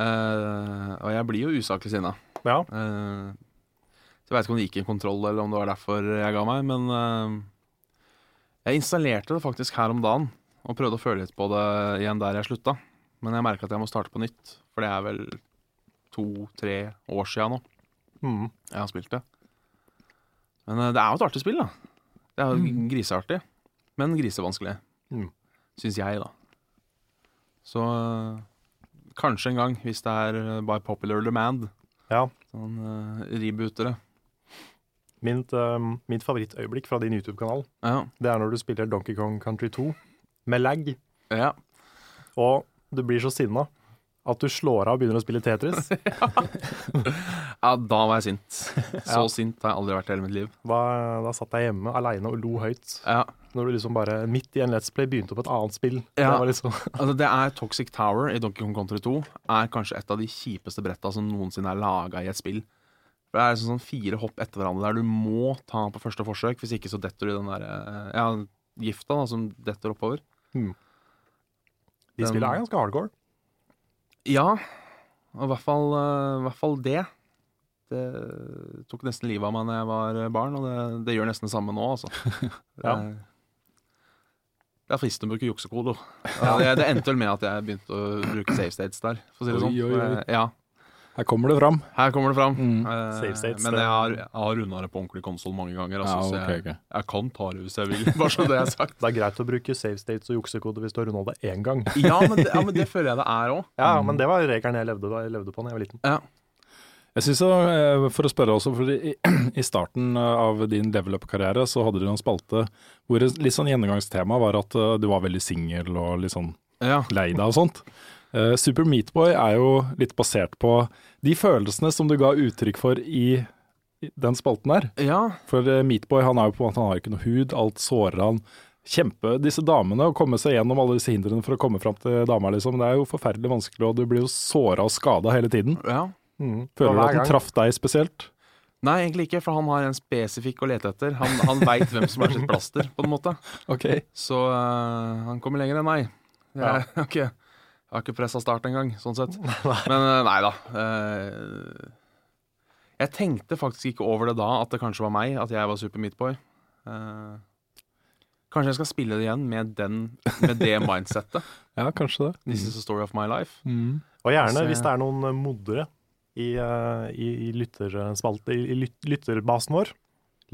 A: Eh, og jeg blir jo usaklig sinna.
B: Ja.
A: Eh, så jeg veit ikke om det gikk i kontroll, eller om det var derfor jeg ga meg, men eh, jeg installerte det faktisk her om dagen, og prøvde å føle litt på det igjen der jeg slutta. Men jeg merka at jeg må starte på nytt, for det er vel to-tre år sia nå
B: Mm.
A: jeg har spilt det. Men eh, det er jo et artig spill, da. Det er jo griseartig, men grisevanskelig.
B: Mm.
A: Syns jeg, da. Så eh, kanskje en gang, hvis det er eh, by popular demand.
B: Ja.
A: Sånn uh, rebootere.
B: Mitt, eh, mitt favorittøyeblikk fra din YouTube-kanal
A: Ja.
B: Det er når du spiller Donkey Kong Country 2 med lag,
A: ja.
B: og du blir så sinna at du slår av og begynner å spille Tetris.
A: ja, da var jeg sint. Så
B: Ja.
A: sint har jeg aldri vært i hele mitt liv.
B: Da, da satt jeg hjemme aleine og lo høyt.
A: Ja.
B: Når du liksom bare midt i en Let's Play begynte på et annet spill.
A: Ja.
B: Det var liksom,
A: Altså, det er Toxic Tower i Donkey Kong Country 2 er kanskje et av de kjipeste bretta som noensinne er laga i et spill. For Det er liksom sånn fire hopp etter hverandre der du må ta på første forsøk, hvis ikke så detter du i den der eh, ja, gifta da, som detter oppover.
B: de spillene er ganske hardcore.
A: Ja, og i hvert fall, eh, i hvert fall det. Det tok nesten livet av meg da jeg var eh, barn, og det, det gjør nesten det samme nå, altså. Det
B: Ja.
A: er, det er fristende å bruke juksekode. Det, det endte vel med at jeg begynte å bruke save states der, for å si det
B: Oi,
A: sånn.
B: oi, oi.
A: Eh, Ja,
B: Her kommer det fram.
A: Her kommer det fram.
B: Mm.
A: Eh,
B: Save states,
A: men
B: det-
A: jeg har, jeg har runda det på ordentlig konsoll mange ganger. Altså,
B: Ja, ok,
A: så jeg,
B: ok.
A: jeg kan ta det hvis jeg vil, bare så det er sagt.
B: Det er greit å bruke save states og juksekode hvis du har runda det én gang.
A: Ja men, det, ja, men det føler jeg det er òg.
B: Ja, men det var regelen jeg levde, da jeg levde på da jeg var liten.
A: Ja.
C: Jeg synes jo, eh, For å spørre også, for i, i starten eh, av din level up-karriere så hadde du en spalte hvor et litt sånn gjennomgangstema var at eh, du var veldig singel og litt sånn
A: Ja.
C: lei deg og sånt. Eh, Super Meatboy er jo litt basert på de følelsene som du ga uttrykk for i i den spalten der.
A: ja.
C: For Meatboy han er jo på en måte, han har ikke noe hud, alt sårer han. Kjempe disse damene og komme seg gjennom alle disse hindrene for å komme fram til dama, liksom. Det er jo forferdelig vanskelig, og du blir jo såra og skada hele tiden.
A: ja.
B: Mm.
C: Føler
B: Og
C: du
B: hver
C: at den
B: gang-
C: traff deg spesielt?
A: Nei, egentlig ikke, for han har en spesifikk å lete etter. Han, han veit hvem som er sitt plaster, på en måte.
C: Ok.
A: Så eh, han kommer lenger enn meg. Jeg,
B: Ja.
A: ok. jeg har ikke pressa start engang, sånn sett. Men eh, nei da. eh, jeg tenkte faktisk ikke over det da, at det kanskje var meg, at jeg var Super Meatboy. Uh, kanskje jeg skal spille det igjen med, den, med det mindsettet.
C: Ja, kanskje det.
A: This is a story of my life.
C: Mm.
B: Og gjerne
A: Så-
B: hvis det er noen eh, moddere i, eh, i, i, lytterspalte, i lyt, lytterbasen vår,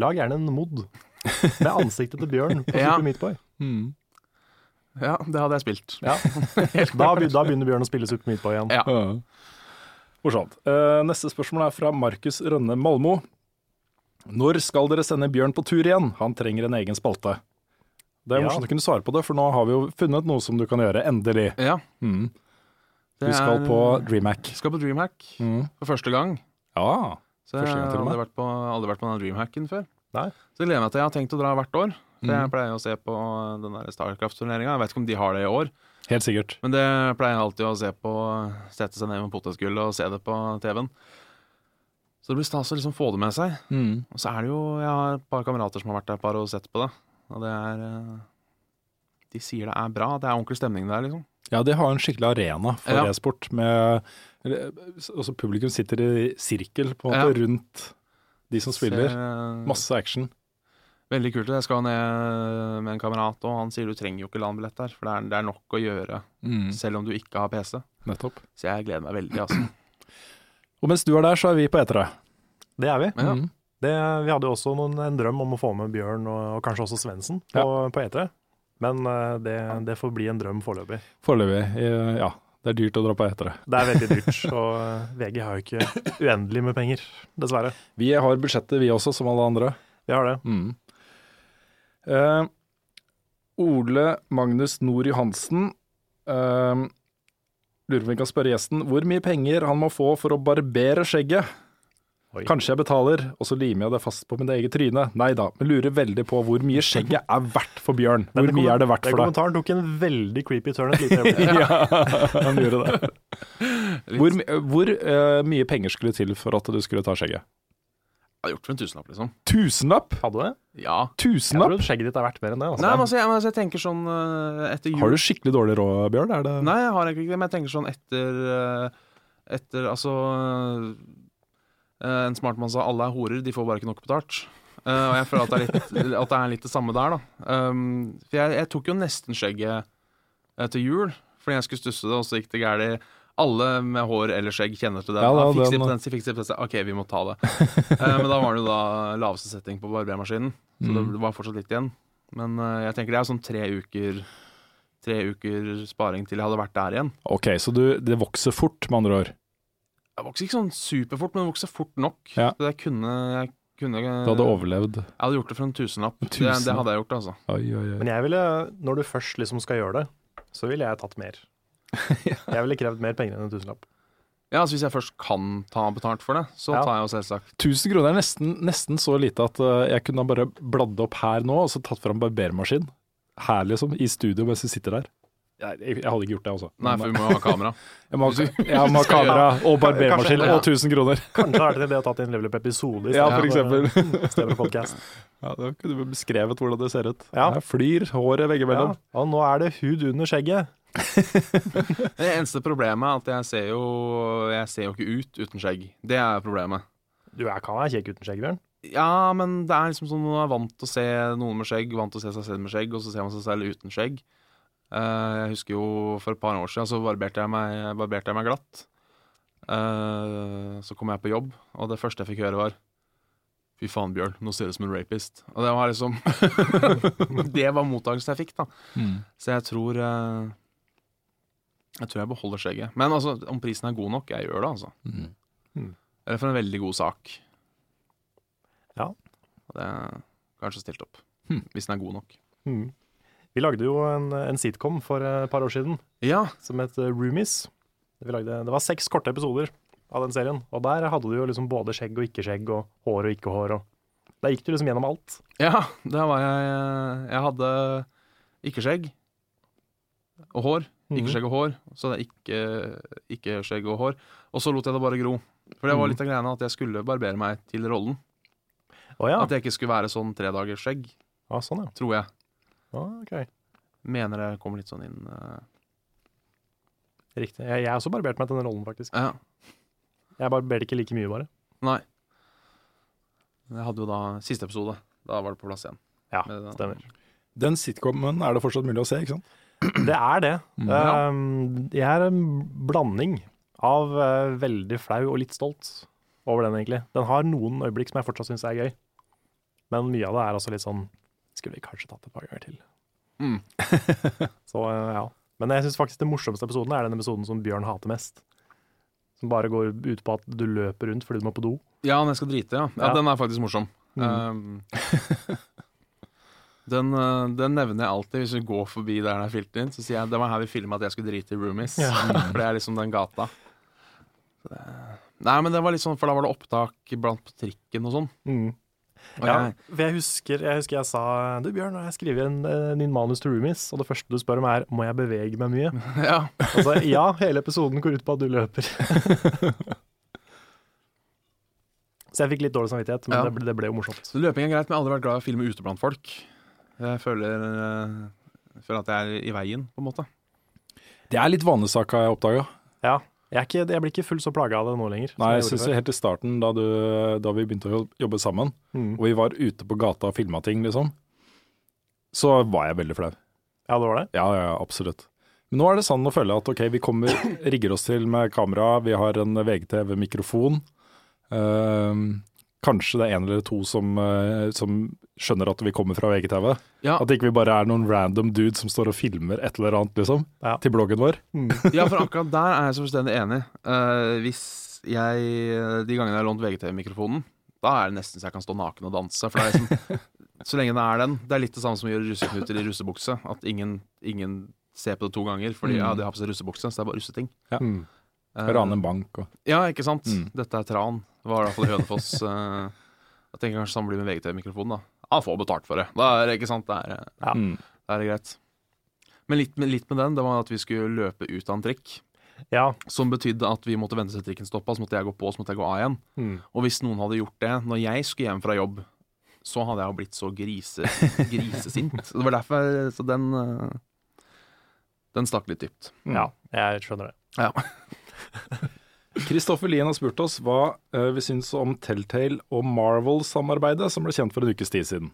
B: lag gjerne en mod med ansiktet til Bjørn på
A: Ja.
B: Super Meat Boy.
A: Ja, det hadde jeg spilt.
B: Ja. Da, be- da begynner Bjørn å spille Super Meat Boy igjen.
A: Ja.
C: Ja. Morsomt. Eh, neste spørsmål er fra Markus Rønne Malmo. Når skal dere sende Bjørn på tur igjen? Han trenger en egen spalte. Det er
B: Ja.
C: morsomt å kunne svare på det, for nå har vi jo funnet noe som du kan gjøre, endelig.
A: Ja,
C: Mm.
A: det
C: Du skal
A: er-
C: på DreamHack.
A: skal på DreamHack
C: Mm.
A: for første gang.
C: Ja.
A: Så
C: Første
A: jeg
C: gang
A: har
C: til og med.
A: aldri vært, på, aldri vært på den DreamHacken før.
B: Nei.
A: Så jeg gleder meg til jeg har tenkt å dra hvert år. For
C: Mm.
A: Jeg pleier å se på den der Starcraft-turneringa. Jeg vet ikke om de har det i år,
C: Helt sikkert.
A: men det pleier jeg alltid å se på. Sette seg ned med potetgull og se det på TV-en. Så det blir stas å liksom få det med seg.
C: Mm.
A: Og så er det jo Jeg har et par kamerater som har vært der et par og sett på det. Og det er eh, De sier det er bra. Det er ordentlig stemning der, liksom.
C: Ja, de har en skikkelig arena for
A: Ja.
C: e-sport. med- eller, Altså, publikum sitter i sirkel på en måte rundt de som spiller.
A: Ser, eh,
C: Masse action.
A: Veldig kult. Jeg skal ned med en kamerat, og han sier du trenger jo ikke LAN-billett der, for det er, det er nok å gjøre
C: Mm.
A: selv om du ikke har PC.
C: Nettopp.
A: Så jeg gleder meg veldig, altså.
C: Og mens du er der, så er vi på E eteret.
B: Det er vi.
A: Ja.
C: Mm.
B: Det, vi hadde jo også noen, en drøm om å få med Bjørn og, og kanskje også Svendsen på, på E3, men eh, det, det får bli en drøm foreløpig.
C: Foreløpig. eh, Ja. Det er dyrt å dra på E etere.
B: Det er veldig dyrt, og eh, VG har jo ikke uendelig med penger, dessverre.
C: Vi har budsjettet, vi også, som alle andre.
B: Vi har det.
C: Eh, Ole Magnus Nord Johansen eh, lurer på om vi kan spørre gjesten hvor mye penger han må få for å barbere skjegget. Kanskje jeg betaler, og så limer jeg det fast på mitt eget tryne. Nei da, men lurer veldig på hvor mye skjegget er verdt for Bjørn. Hvor mye er det verdt for deg?
B: Kommentaren tok en veldig creepy turn et lite øyeblikk.
C: Han gjorde det. Hvor, my- hvor eh, mye penger skulle til for at du skulle ta skjegget?
A: Jeg har gjort for en tusenlapp, liksom.
C: Tusenlapp!
B: Hadde du det?
A: Ja.
B: Jeg
C: Tusenlapp!
B: tror skjegget ditt er verdt mer enn det. Altså.
A: Nei, men altså, jeg, men altså, jeg tenker sånn eh, etter jul
C: Har du skikkelig dårlig råd, Bjørn? Er det
A: Nei, jeg har egentlig ikke det, men jeg tenker sånn etter eh, Etter, altså eh, En smart mann sa 'alle er horer, de får bare ikke nok betalt'. Eh, og jeg føler at det, er litt, at det er litt det samme der, da. Um, for jeg, jeg tok jo nesten skjegget eh, til jul, fordi jeg skulle stusse det, og så gikk det galt. Alle med hår eller skjegg kjenner til det.
C: Ja, da,
A: Ah, fiks
C: den-
A: impotensi, fiks impotensi. OK, vi må ta det. Eh, men da var det jo da laveste setting på barbermaskinen,
C: Mm.
A: så det var fortsatt litt igjen. Men eh, jeg tenker det er sånn tre uker Tre uker sparing til jeg hadde vært der igjen.
C: Ok, så du, det vokser fort, med andre ord.
A: Jeg vokste ikke sånn superfort, men jeg vokste fort nok.
C: Ja.
A: Så jeg kunne, jeg kunne eh,
C: Du hadde overlevd.
A: Jeg hadde gjort det for en tusenlapp.
C: En
A: Det, det
C: tusenlapp.
A: hadde jeg gjort, altså.
C: Oi, oi, oi.
B: Men jeg ville, når du først liksom skal gjøre det, så ville jeg tatt mer. Jeg ville krevd mer penger enn en tusenlapp.
A: Ja, altså Hvis jeg først kan ta betalt for det, så
B: Ja.
A: tar jeg jo selvsagt
C: 1000 kroner er nesten, nesten så lite at eh, jeg kunne ha bare bladd opp her nå, og så tatt fram barbermaskin. Her, liksom. I studio mens vi sitter der. Jeg, jeg, jeg hadde ikke gjort det, altså.
A: Nei, for vi må jo ha kamera.
C: Jeg må, jeg må ha kamera og barbermaskin
A: Kanskje-
C: og 1000 kroner.
B: Kanskje hadde det vært en idé å tatt en level-up-episode
C: Ja, for
B: eksempel.
C: Ja, da kunne du beskrevet hvordan det ser ut.
B: Ja.
C: Jeg flyr håret
B: Ja.
C: veggimellom.
B: Og nå er det hud under skjegget.
A: Det eneste problemet er at jeg ser jo, jeg ser jo ikke ut uten skjegg. Det er problemet.
B: Du jeg kan være kjekk uten skjegg, Bjørn.
A: Ja, men det er liksom sånn man er vant til å se noen med skjegg, vant til å se seg selv med skjegg, og så ser man seg selv uten skjegg. Eh, jeg husker jo for et par år siden så barberte jeg meg, barberte jeg meg glatt. Eh, så kom jeg på jobb, og det første jeg fikk høre var Fy faen, Bjørn, nå ser du ut som en rapist. Og det var liksom Det var mottakelsen jeg fikk, da. Så jeg tror eh, Jeg tror jeg beholder skjegget. Men altså, om prisen er god nok, jeg gjør det, altså. Eller for en veldig god sak. Og det er kanskje stilt opp. Hvis den er god nok.
B: Hmm. Vi lagde jo en, en sitcom for et par år siden
A: Ja,
B: som het eh, Roomies. Vi lagde, det var seks korte episoder av den serien, og der hadde du jo liksom både skjegg og ikke skjegg, og hår og ikke hår. Og der gikk du liksom gjennom alt.
A: ja der var jeg eh, Jeg hadde ikke skjegg og hår. Ikke skjegg og hår. Så det er ikke, ikke skjegg og hår. Og så lot jeg det bare gro. For det var litt av greiene at jeg skulle barbere meg til rollen.
B: Å ja.
A: At jeg ikke skulle være sånn tredagersskjegg,
B: ja, sånn ja.
A: tror jeg.
B: Ah, ok.
A: Mener det kommer litt sånn inn eh,
B: Riktig. Jeg, jeg har også barbert meg til den rollen, faktisk.
A: Ja,
B: Jeg barberte ikke like mye, bare.
A: nei. Jeg hadde jo da siste episode. Da var det på plass igjen.
B: Ja,
A: Men det-
B: stemmer.
C: Den sitcomen er det fortsatt mulig å se, ikke sant?
B: Det er det.
A: Ja.
B: Um, jeg er en blanding av eh, veldig flau og litt stolt over den, egentlig. Den har noen øyeblikk som jeg fortsatt syns er gøy, men mye av det er også litt sånn Skulle vi kanskje tatt et par ganger til?
A: Mm.
B: Så eh, ja. Men jeg syns faktisk den morsomste episoden er den episoden som Bjørn hater mest. Som bare går ut på at du løper rundt fordi du må på do.
A: Ja, når jeg skal drite, ja. ja,
B: Ja.
A: Den er faktisk morsom. Um, den, eh, den nevner jeg alltid hvis vi går forbi der den er filtet inn. Så sier jeg det var her vi filma at jeg skulle drite i roomies. For det er liksom den gata. Så det- Nei, men det var litt sånn, for da var det opptak blant på trikken og sånn.
B: Mm.
A: Og
B: Ja,
A: jeg,
B: for jeg husker, jeg husker jeg sa Du Bjørn, nå har jeg skrevet en eh, ny manus til Roomies, og det første du spør om er må jeg bevege meg mye.
A: ja.
B: Og så ja, hele episoden går ut på at du løper. så jeg fikk litt dårlig samvittighet, men
A: Ja.
B: det, ble, det ble jo morsomt.
A: Så løping er greit, men jeg har aldri vært glad i å filme ute blant folk. Jeg føler, eh, jeg føler at jeg er i veien, på en måte.
C: Det er litt vanesak, har jeg oppdaga.
B: Ja, jeg, er ikke, jeg blir ikke fullt så plaga av det nå lenger. som
C: Nei, jeg
B: gjorde
C: synes
B: før.
C: helt i starten, da, du, da vi begynte å jobbe sammen,
B: Mm.
C: og vi var ute på gata og filma ting, liksom, så var jeg veldig flau.
B: Ja, det var det.
C: Ja, ja, ja, absolutt. Men nå er det sånn å føle at ok, vi kommer, rigger oss til med kamera, vi har en VGTV-mikrofon. Ehm, kanskje det er en eller to som, eh, som skjønner at vi kommer fra VGTV.
A: Ja.
C: At ikke vi bare er noen random dude som står og filmer et eller annet, liksom,
B: Ja.
C: til bloggen vår.
A: Ja, for akkurat der er jeg så fullstendig enig. Eh, hvis jeg De gangene jeg har lånt VGTV-mikrofonen, da er det nesten så jeg kan stå naken og danse. For det er liksom, så lenge det er den Det er litt det samme som å gjøre russeknuter i russebukse. At ingen, ingen ser på det to ganger, fordi ja, de har på seg russebukse, så det er bare russeting.
C: Ja.
A: Eh, Eh,
C: Mm. Rane en bank og
A: Ja, ikke sant?
C: Mm.
A: Dette er tran. Det var i hvert fall Hønefoss. eh, jeg tenker kanskje sånn blir med VGTV-mikrofonen, da. Han får betalt for det. Da er det, ikke sant? Det er, eh,
C: Mm.
A: det er greit. Men litt, med- litt med den, det var at vi skulle løpe ut av en trikk.
B: Ja.
A: Som betydde at vi måtte vente til trikken stoppa, så måtte jeg gå på, så måtte jeg gå av igjen.
B: Mm.
A: Og hvis noen hadde gjort det når jeg skulle hjem fra jobb, så hadde jeg jo blitt så grise, grisesint. Så det var derfor Så den eh, Den stakk litt dypt.
C: Mm.
B: ja. Jeg skjønner det.
A: Ja.
C: Kristoffer Mm. Lien har spurt oss hva eh, vi syns om Telltale og Marvel-samarbeidet som ble kjent for en ukes tid siden.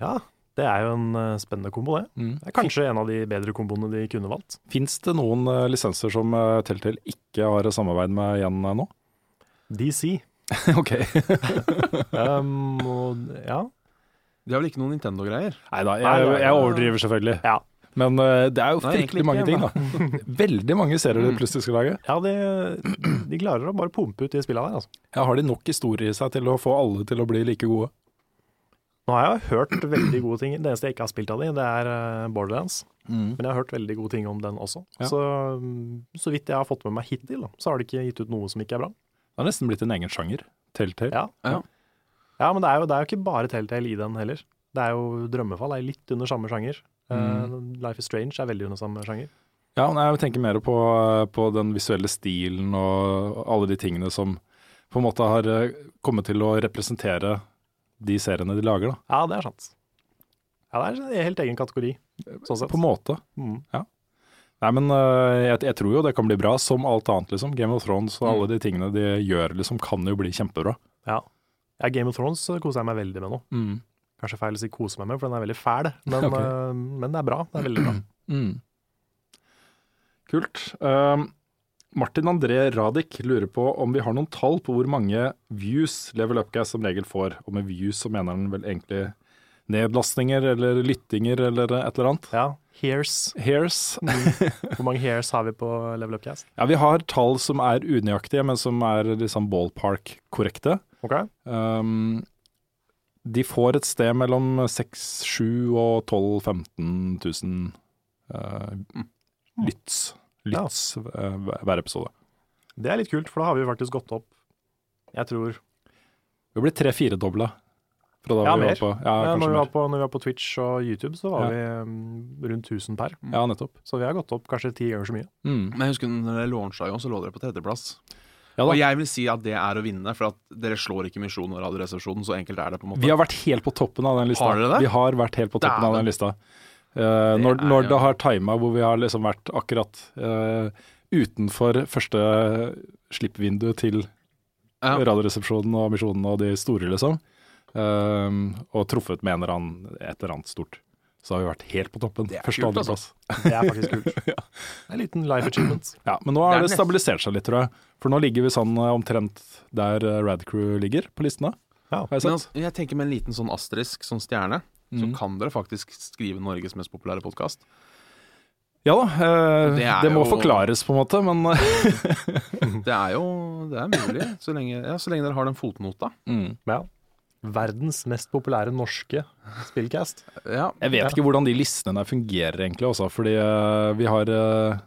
B: Ja, det er jo en eh, spennende kombo, det.
C: Mm.
B: Det er kanskje en av de bedre komboene de kunne valgt.
C: Fins det noen eh, lisenser som eh, Telltale ikke har samarbeid med igjen eh, nå?
B: DC.
C: ok.
B: Um, og, ja.
A: De har vel ikke noen Nintendo-greier?
C: Nei da,
B: Nei,
C: jeg,
B: nei,
C: jeg
B: nei.
C: overdriver selvfølgelig.
B: Ja.
C: Men eh, det er jo
A: Nei, egentlig
C: fryktelig mange ting,
A: ikke,
C: da. Veldig mange serier de plutselig skal lage.
B: ja de, de klarer å bare pumpe ut de spillene der, altså.
C: Ja, har de nok historie i seg til å få alle til å bli like gode?
B: Nå har jeg hørt veldig gode ting. Det eneste jeg ikke har spilt av de, det er eh, Borderlands. Men jeg har hørt veldig gode ting om den også.
C: Mm. Ja.
B: Så mm, så vidt jeg har fått med meg hittil, da, så har de ikke gitt ut noe som ikke er bra.
C: Det har nesten blitt en egen sjanger. Telltale.
B: Ja,
A: Ja.
B: ja men det er, jo, det er jo ikke bare Telltale i den heller. Det er jo Drømmefall er litt under samme sjanger. Eh,
C: Mm.
B: Life is Strange er veldig under samme sjanger.
C: Ja, nei, jeg tenker mer på, på den visuelle stilen og alle de tingene som på en måte har eh, kommet til å representere de seriene de lager, da.
B: Ja, det er sant. Ja, det er en helt egen kategori, sånn sett.
C: På en måte.
B: Mm.
C: Nei, men eh, jeg, jeg tror jo det kan bli bra, som alt annet, liksom. Game of Thrones og
B: Mm.
C: alle de tingene de gjør, liksom, kan jo bli kjempebra.
B: Ja. ja, Game of Thrones eh, koser jeg meg veldig med nå. Kanskje feil å si kose meg med, for den er veldig fæl, men,
C: Ok.
B: eh, men det er bra. Det er veldig bra. Mm.
C: Kult. Um, Martin André Radek lurer på om vi har noen tall på hvor mange views Level Upcast som regel får. Og med views så mener han vel egentlig nedlastninger eller lyttinger eller et eller annet.
B: Ja, Hears.
C: Hairs.
B: Hvor mange hairs har vi på Level Up Cast?
C: Ja, vi har tall som er unøyaktige, men som er liksom ballpark-korrekte.
B: Ok.
C: Um, de får et sted mellom 6 7 og 12 15 000 eh,
A: Mm.
C: lytts. Lytts eh, hver- hver episode.
B: Det er litt kult, for da har vi faktisk gått opp, jeg tror
C: Vi ble tre-firedobla. Fra da
B: Ja,
C: vi
B: mer.
C: var på, ja,
B: ja,
C: kanskje
B: når, vi var
C: mer.
B: på, når vi var på Twitch og YouTube, så var
C: Ja.
B: vi mm, rundt 1000 per.
C: Ja, nettopp.
B: Så vi har gått opp kanskje ti ganger så mye.
C: Mm.
A: Men jeg husker når dere launcha jo, så lå dere på tredjeplass.
C: Ja, da.
A: og jeg vil si at det er å vinne, for at dere slår ikke Misjon og Radioresepsjonen, så enkelt er det på en måte.
C: Vi har vært helt på toppen av den lista.
A: Har dere det?
C: Vi har vært helt på toppen av
A: Dæven.
C: den lista. Eh, når,
A: er
C: når
A: jo-
C: det har tima hvor vi har liksom vært akkurat eh, utenfor første slippvindu til
A: Ja.
C: Radioresepsjonen og Misjonen og de store, liksom. Eh, og truffet med en eller annen, et eller annet stort. Så har vi vært helt på toppen.
A: Det er
C: Første
A: kult, altså.
C: og andreplass.
B: Det er faktisk kult. Det er en liten life achievement.
C: Ja, men nå
A: Det
C: har
A: er
C: det,
A: nest-
C: stabilisert seg litt, tror jeg. For nå ligger vi sånn eh, omtrent der eh, Rad Crew ligger på listene.
B: Ja.
C: Har
A: Men
C: jeg sett? Mm.
A: altså, jeg tenker med en liten sånn asterisk, sånn stjerne, så kan dere faktisk skrive Norges mest populære podkast.
C: Ja da,
A: Det
C: eh, det,
A: er
C: må
A: jo-
C: forklares på en måte, men
A: Det er jo det er mulig, så lenge, ja, så lenge dere har den fotnota.
B: Ja. Verdens mest populære norske spillcast.
A: Ja,
C: jeg vet ikke hvordan de listene der fungerer egentlig, også, fordi eh, vi har, eh,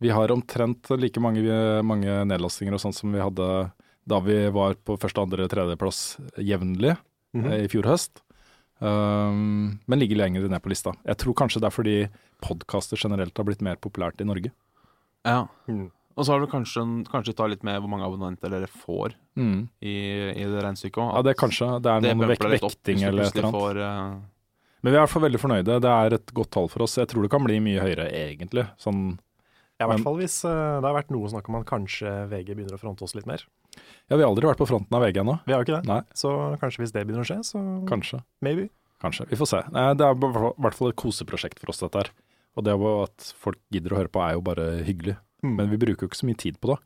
C: vi har omtrent like mange, mange nedlastinger og sånt som vi hadde da vi var på første, andre, tredjeplass jevnlig eh, i fjor høst. Um, men ligger lenger ned på lista. Jeg tror kanskje det er fordi podkaster generelt har blitt mer populært i Norge.
A: Ja.
B: Mm.
A: Og så har du kanskje, kanskje ta litt med hvor mange abonnenter dere får
C: Mm.
A: i, i det regnestykket òg.
C: Ja, det er kanskje det er noen vek vekting eller et eller annet.
A: Får, eh,
C: Men vi er i hvert fall veldig fornøyde. Det er et godt tall for oss. Jeg tror det kan bli mye høyere, egentlig. Sånn,
B: Ja, I
C: Men-
B: hvert fall hvis eh, det har vært noe snakk om at kanskje VG begynner å fronte oss litt mer.
C: ja, vi har aldri vært på fronten av VG ennå.
B: Vi har jo ikke det.
C: Nei.
B: Så kanskje hvis det begynner å skje, så
C: Kanskje.
B: maybe.
C: Kanskje. Vi får se. Nei, Det er i hvert fall et koseprosjekt for oss, dette her. Og det at folk gidder å høre på er jo bare hyggelig.
B: Mm.
C: Men vi bruker jo ikke så mye tid på det.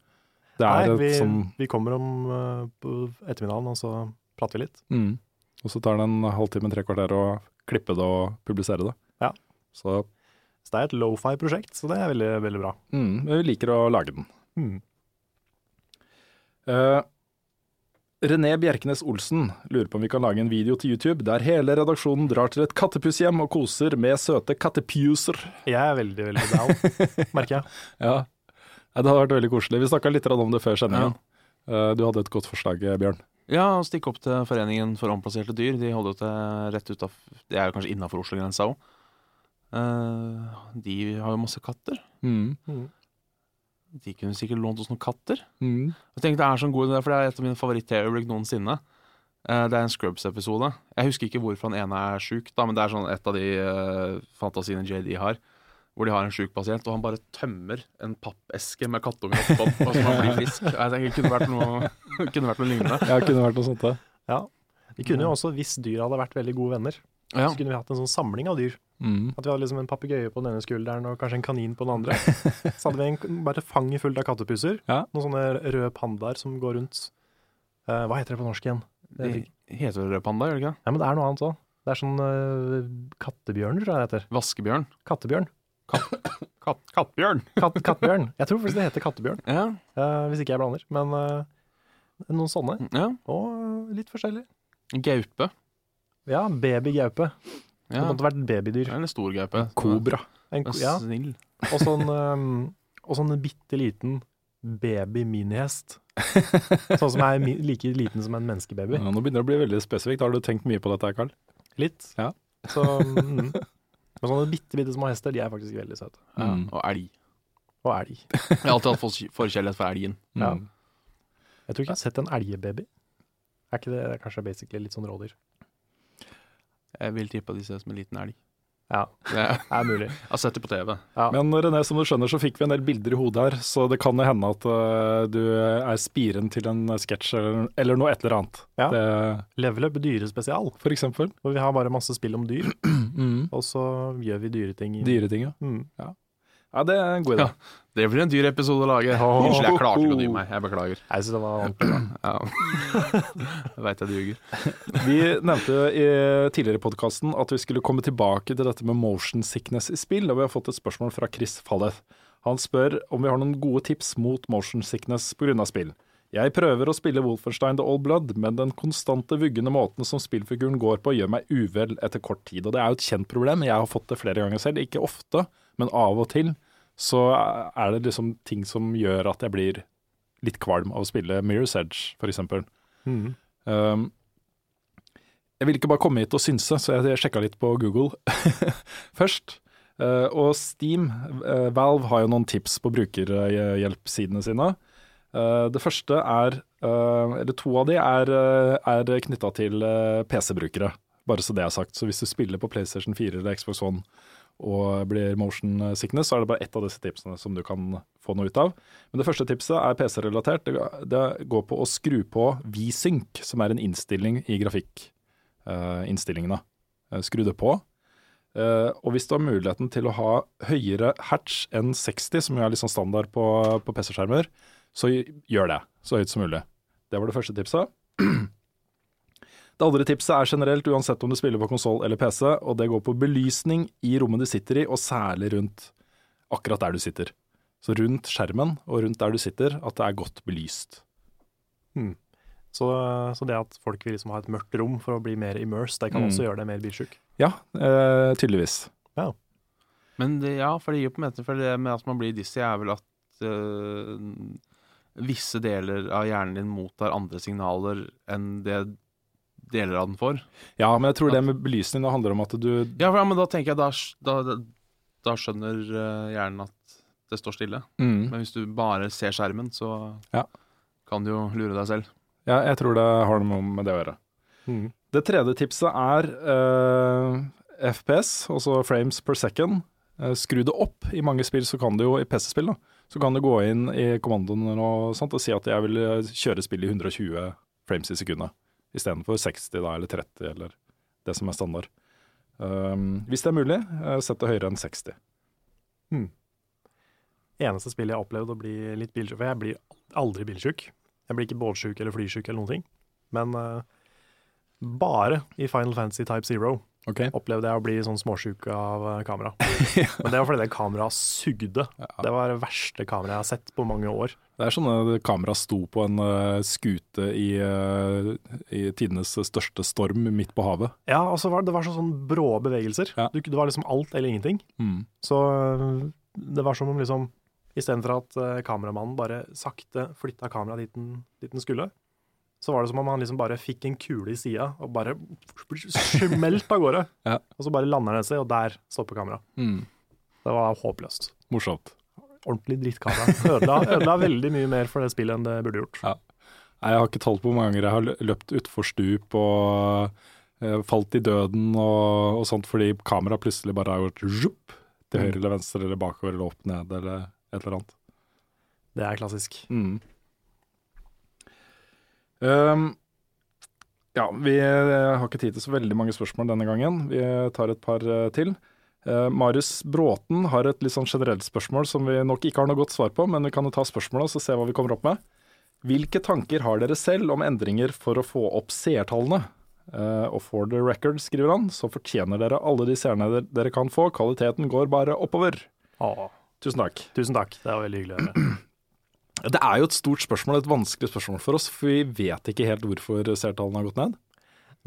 C: Det er
B: Nei,
C: et
B: vi,
C: sånn
B: vi kommer om eh, på ettermiddagen, og så prater vi litt.
C: mm, Og så tar det en halvtime, tre kvarter å klippe det og publisere det.
B: Ja.
C: Så
B: Så det er et lo-fi-prosjekt, så det er veldig, veldig bra.
C: mm, men vi liker å lage den. Eh, René Bjerkenes Olsen lurer på om vi kan lage en video til YouTube der hele redaksjonen drar til et kattepusshjem og koser med søte kattepuser.
B: Jeg er veldig, veldig down, merker jeg.
C: Ja. Nei, Det har vært veldig koselig. Vi snakka litt om det før sendingen. Eh, Du hadde et godt forslag, Bjørn.
A: Ja, og stikk opp til Foreningen for omplasserte dyr. De holder jo til rett ut av Det er jo kanskje innafor Oslo-grensa òg. de har jo masse katter. De kunne sikkert lånt oss noen katter.
C: Mm.
A: Jeg tenker det er så en sånn god idé, for det er et av mine favoritt-TV-øyeblikk noensinne. Eh, Det er en Scrubs-episode. Jeg husker ikke hvorfor han ene er sjuk, da, men det er sånn et av de eh, fantasiene JD har. Hvor de har en sjuk pasient, og han bare tømmer en pappeske med kattunger oppå. Og så han blir frisk. Jeg tenker Det kunne vært noe, kunne vært noe lignende.
C: Ja, det kunne vært noe sånt, det.
B: Ja. Vi kunne jo også, hvis dyr hadde vært veldig gode venner,
A: Ja.
B: så kunne vi hatt en sånn samling av dyr.
C: Mm.
B: At vi hadde liksom en papegøye på den ene skulderen og kanskje en kanin på den andre. Så hadde vi en, bare fanget fullt av kattepuser.
C: Ja.
B: Noen sånne røde pandaer som går rundt. Eh, hva heter det på norsk igjen?
A: De heter vel rød panda, gjør det ikke?
B: Ja, men det er noe annet òg. Det er sånn eh, kattebjørn, tror jeg det heter.
A: det? Vaskebjørn.
B: Kattebjørn.
A: Katt, kattbjørn!
B: Katt, kattebjørn. Jeg tror faktisk det heter kattebjørn,
A: Ja,
B: eh, hvis ikke jeg blander. Men eh, noen sånne.
A: ja.
C: Mm.
B: Og eh, litt forskjellig.
A: Gaupe.
B: Ja, babygaupe. Det
A: Ja.
B: måtte vært babydyr.
A: Eller stor gaupe.
C: Kobra.
B: En,
A: Men
B: ko- ja.
A: Snill.
B: Og sånn, um, og sånn en bitte liten baby-minihest. Sånn som er mi like liten som en menneskebaby.
C: Ja, nå begynner det å bli veldig spesifikt. Har du tenkt mye på dette, her, Karl?
B: Litt.
C: Ja.
B: Så, mm. Og sånne bitte, bitte små hester, de er faktisk veldig søte.
A: Ja.
C: Mm.
A: Og elg.
B: Og elg.
A: Jeg har alltid hatt for- forkjærlighet for elgen.
B: Ja.
C: Mm.
B: Jeg tror ikke jeg har sett en elgebaby. Er ikke det, det er kanskje basically litt sånn rådyr?
A: Jeg vil tippe at de ser ut som en liten elg.
B: Ja,
A: Jeg
B: det er mulig.
A: jeg har sett det på TV.
C: Men René, som du skjønner, så fikk vi en del bilder i hodet her, så det kan jo hende at eh, du er spiren til en sketsj eller, eller noe et eller annet.
B: Ja.
C: Det,
B: Level Up dyrespesial,
C: for eksempel.
B: hvor vi har bare masse spill om dyr,
C: Mm.
B: og så gjør vi dyreting. i-
C: Dyreting, ja.
B: Mm.
C: ja. Det er en god idé.
A: Ja. Det blir en dyr episode å lage. Unnskyld, jeg klarte ikke å dy meg. Jeg beklager.
B: Jeg synes det var
A: Ja. Jeg veit jeg ljuger.
C: Vi nevnte i tidligere i podkasten at vi skulle komme tilbake til dette med motion sickness i spill, og vi har fått et spørsmål fra Chris Falleth. Han spør om vi har noen gode tips mot motion sickness pga. spill. Jeg prøver å spille Wolfenstein The Old Blood, men den konstante vuggende måten som spillfiguren går på, gjør meg uvel etter kort tid. Og det er jo et kjent problem, jeg har fått det flere ganger selv. Ikke ofte, men av og til så er det liksom ting som gjør at jeg blir litt kvalm av å spille Mirror's Edge, for eksempel.
B: Mhm.
C: Um, jeg ville ikke bare komme hit og synse, så jeg sjekka litt på Google først. Eh, og Steam, eh, Valve, har jo noen tips på brukerhjelpsidene sine. Eh, det første er eh, Eller to av de er, eh, er knytta til eh, PC-brukere, bare så det er sagt. Så hvis du spiller på PlayStation 4 eller Xbox One og blir motion eh, sickness, så er det bare ett av disse tipsene som du kan få noe ut av. Men det første tipset er PC-relatert. Det, det går på å skru på VSync, som er en innstilling i eh, grafikkinnstillingene. skru det på. Eh, og hvis du har muligheten til å ha høyere hertz enn 60, som jo er litt sånn standard på, på PC-skjermer, så gjør det så høyt som mulig. Det var det første tipset. Det andre tipset er generelt, uansett om du spiller på konsoll eller PC, og det går på belysning i rommet du sitter i, og særlig rundt akkurat der du sitter. Så rundt skjermen og rundt der du sitter, at det er godt belyst.
B: Så, så det at folk vil liksom ha et mørkt rom for å bli mer immersed, det kan
C: Mm.
B: også gjøre deg mer bilsjuk.
C: Ja, eh, tydeligvis.
A: Men det, ja, for det gir jo på en måte For det med at man blir dizzy, er vel at eh, visse deler av hjernen din mottar andre signaler enn det deler av den får.
C: Ja, men jeg tror det med belysning det handler om at du
A: Ja, for- ja, men da tenker jeg da, sk- da, da- da skjønner eh, hjernen at det står stille.
C: mm,
A: Men hvis du bare ser skjermen, så
C: Ja.
A: kan du jo lure deg selv.
C: Ja, jeg tror det har noe med det å gjøre. Det tredje tipset er eh, FPS, altså frames per second. Eh, skru det opp. I mange spill så kan du jo, i PC-spill, da, så kan du gå inn i kommandoen og, sånt, og si at jeg vil eh, kjøre spillet i 120 frames i sekundet, istedenfor 60 da, eller 30, eller det som er standard. Um, hvis det er mulig, eh, sett det høyere enn 60.
B: Eneste spillet jeg har opplevd å bli litt bilsjuk For jeg blir aldri bilsjuk. Jeg blir ikke båtsjuk eller flysjuk eller noen ting. Men eh, bare i Final Fantasy Type Zero
C: Ok.
B: opplevde jeg å bli sånn småsjuk av eh, kamera. Men det var fordi det kameraet sugde. Det var det verste kameraet jeg har sett på mange år.
C: Det er sånn at kameraet sto på en eh, skute i, eh, i tidenes største storm midt på havet.
B: Ja, og så var det, det var så sånn brå bevegelser.
C: Ja.
B: Du, det var liksom alt eller ingenting.
C: Mm.
B: Så øh, det var som om liksom Istedenfor at eh, kameramannen bare sakte flytta kameraet dit, den- dit den skulle, så var det som om han liksom bare fikk en kule i sida og bare smelt av gårde.
C: Ja.
B: Og så bare lander den seg, og der stopper kameraet.
C: Mm.
B: Det var håpløst.
C: Morsomt.
B: Ordentlig drittkamera. Ødela, ødela veldig mye mer for det spillet enn det burde gjort.
C: Nei, jeg har ikke talt på hvor mange ganger jeg har lø- løpt utfor stup og eh, falt i døden og, og sånt, fordi kameraet plutselig bare har gjort zhup, til høyre eller venstre eller bakover eller opp ned eller et eller annet.
B: Det er klassisk.
C: Mm. Um, ja, vi eh, har ikke tid til så veldig mange spørsmål denne gangen. Vi eh, tar et par eh, til. Eh, Marius Bråten har et litt sånn generelt spørsmål som vi nok ikke har noe godt svar på, men vi kan jo ta spørsmålet og så se hva vi kommer opp med. Hvilke tanker har dere selv om endringer for å få opp seertallene? Eh, og for the record, skriver han, så fortjener dere alle de seerne dere- dere kan få. Kvaliteten går bare oppover.
B: Åh,
C: Tusen takk.
B: tusen takk, det var veldig hyggelig å høre.
C: Det er jo et stort spørsmål, et vanskelig spørsmål for oss, for vi vet ikke helt hvorfor seertallene har gått ned.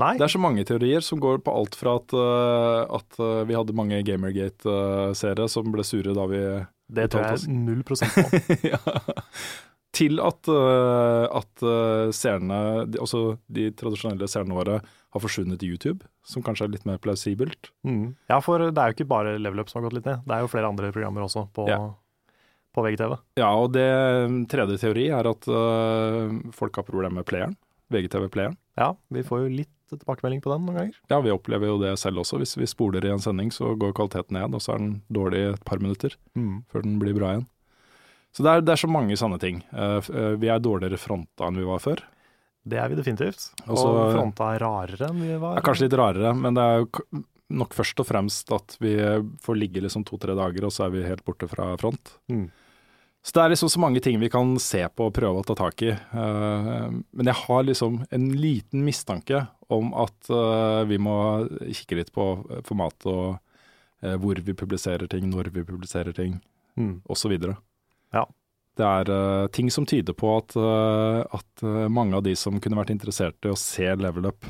B: Nei,
C: Det er så mange teorier som går på alt fra at, øh, at øh, vi hadde mange Gamergate-seere som ble sure da vi
B: det tror jeg er null prosent på.
C: ja. Til at, øh, at øh, seerne, de- altså de tradisjonelle seerne våre, har forsvunnet i YouTube, som kanskje er litt mer plausibelt.
B: Mm. Ja, for det er jo ikke bare Level Up som har gått litt ned, det er jo flere andre programmer også på,
C: Ja.
B: på VGTV.
C: Ja, og det eh, tredje teori er at øh, folk har problemer med playeren, VGTV-playeren.
B: Ja, vi får jo litt tilbakemelding på den noen ganger.
C: Ja, vi opplever jo det selv også. Hvis vi spoler i en sending, så går kvaliteten ned, og så er den dårlig i et par minutter før den blir bra igjen. Så det er, det er så mange sanne ting. Eh, f- eh, vi er dårligere fronta enn vi var før.
B: Det er vi definitivt.
C: Og så-
B: og fronta er rarere enn vi var.
C: Det er kanskje litt rarere, men det er jo k- nok først og fremst at vi får ligge liksom to-tre dager, og så er vi helt borte fra front.
B: Mm.
C: Så det er liksom så mange ting vi kan se på og prøve å ta tak i. Eh, Men jeg har liksom en liten mistanke om at eh, vi må kikke litt på formatet og eh, hvor vi publiserer ting, når vi publiserer ting,
B: Mm.
C: osv.
B: Ja.
C: Det er eh, ting som tyder på at, eh, at eh, mange av de som kunne vært interessert i å se Level Up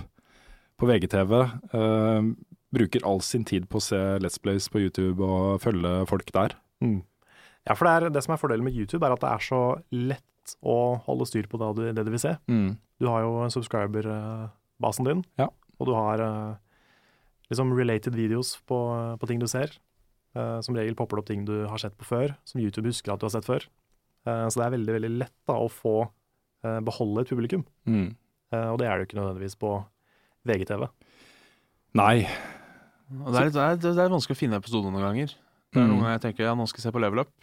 C: på VGTV, eh, bruker all sin tid på å se Let's Plays på YouTube og følge folk der.
B: Ja, for det, er, det som er fordelen med YouTube, er at det er så lett å holde styr på det du, det du vil se.
A: Mm.
B: Du har jo subscriber-basen din,
C: Ja.
B: og du har eh, liksom related videos på, på ting du ser. Eh, Som regel popper det opp ting du har sett på før, som YouTube husker at du har sett før. Eh, Så det er veldig, veldig lett da, å få eh, beholde et publikum,
A: Mm.
B: Eh, og det er det jo ikke nødvendigvis på VGTV.
C: Nei.
A: Og det, er litt, det, er, det er vanskelig å finne episoder noen ganger. Det
C: Mm.
A: er noen ganger jeg tenker ja, nå skal jeg se på level up.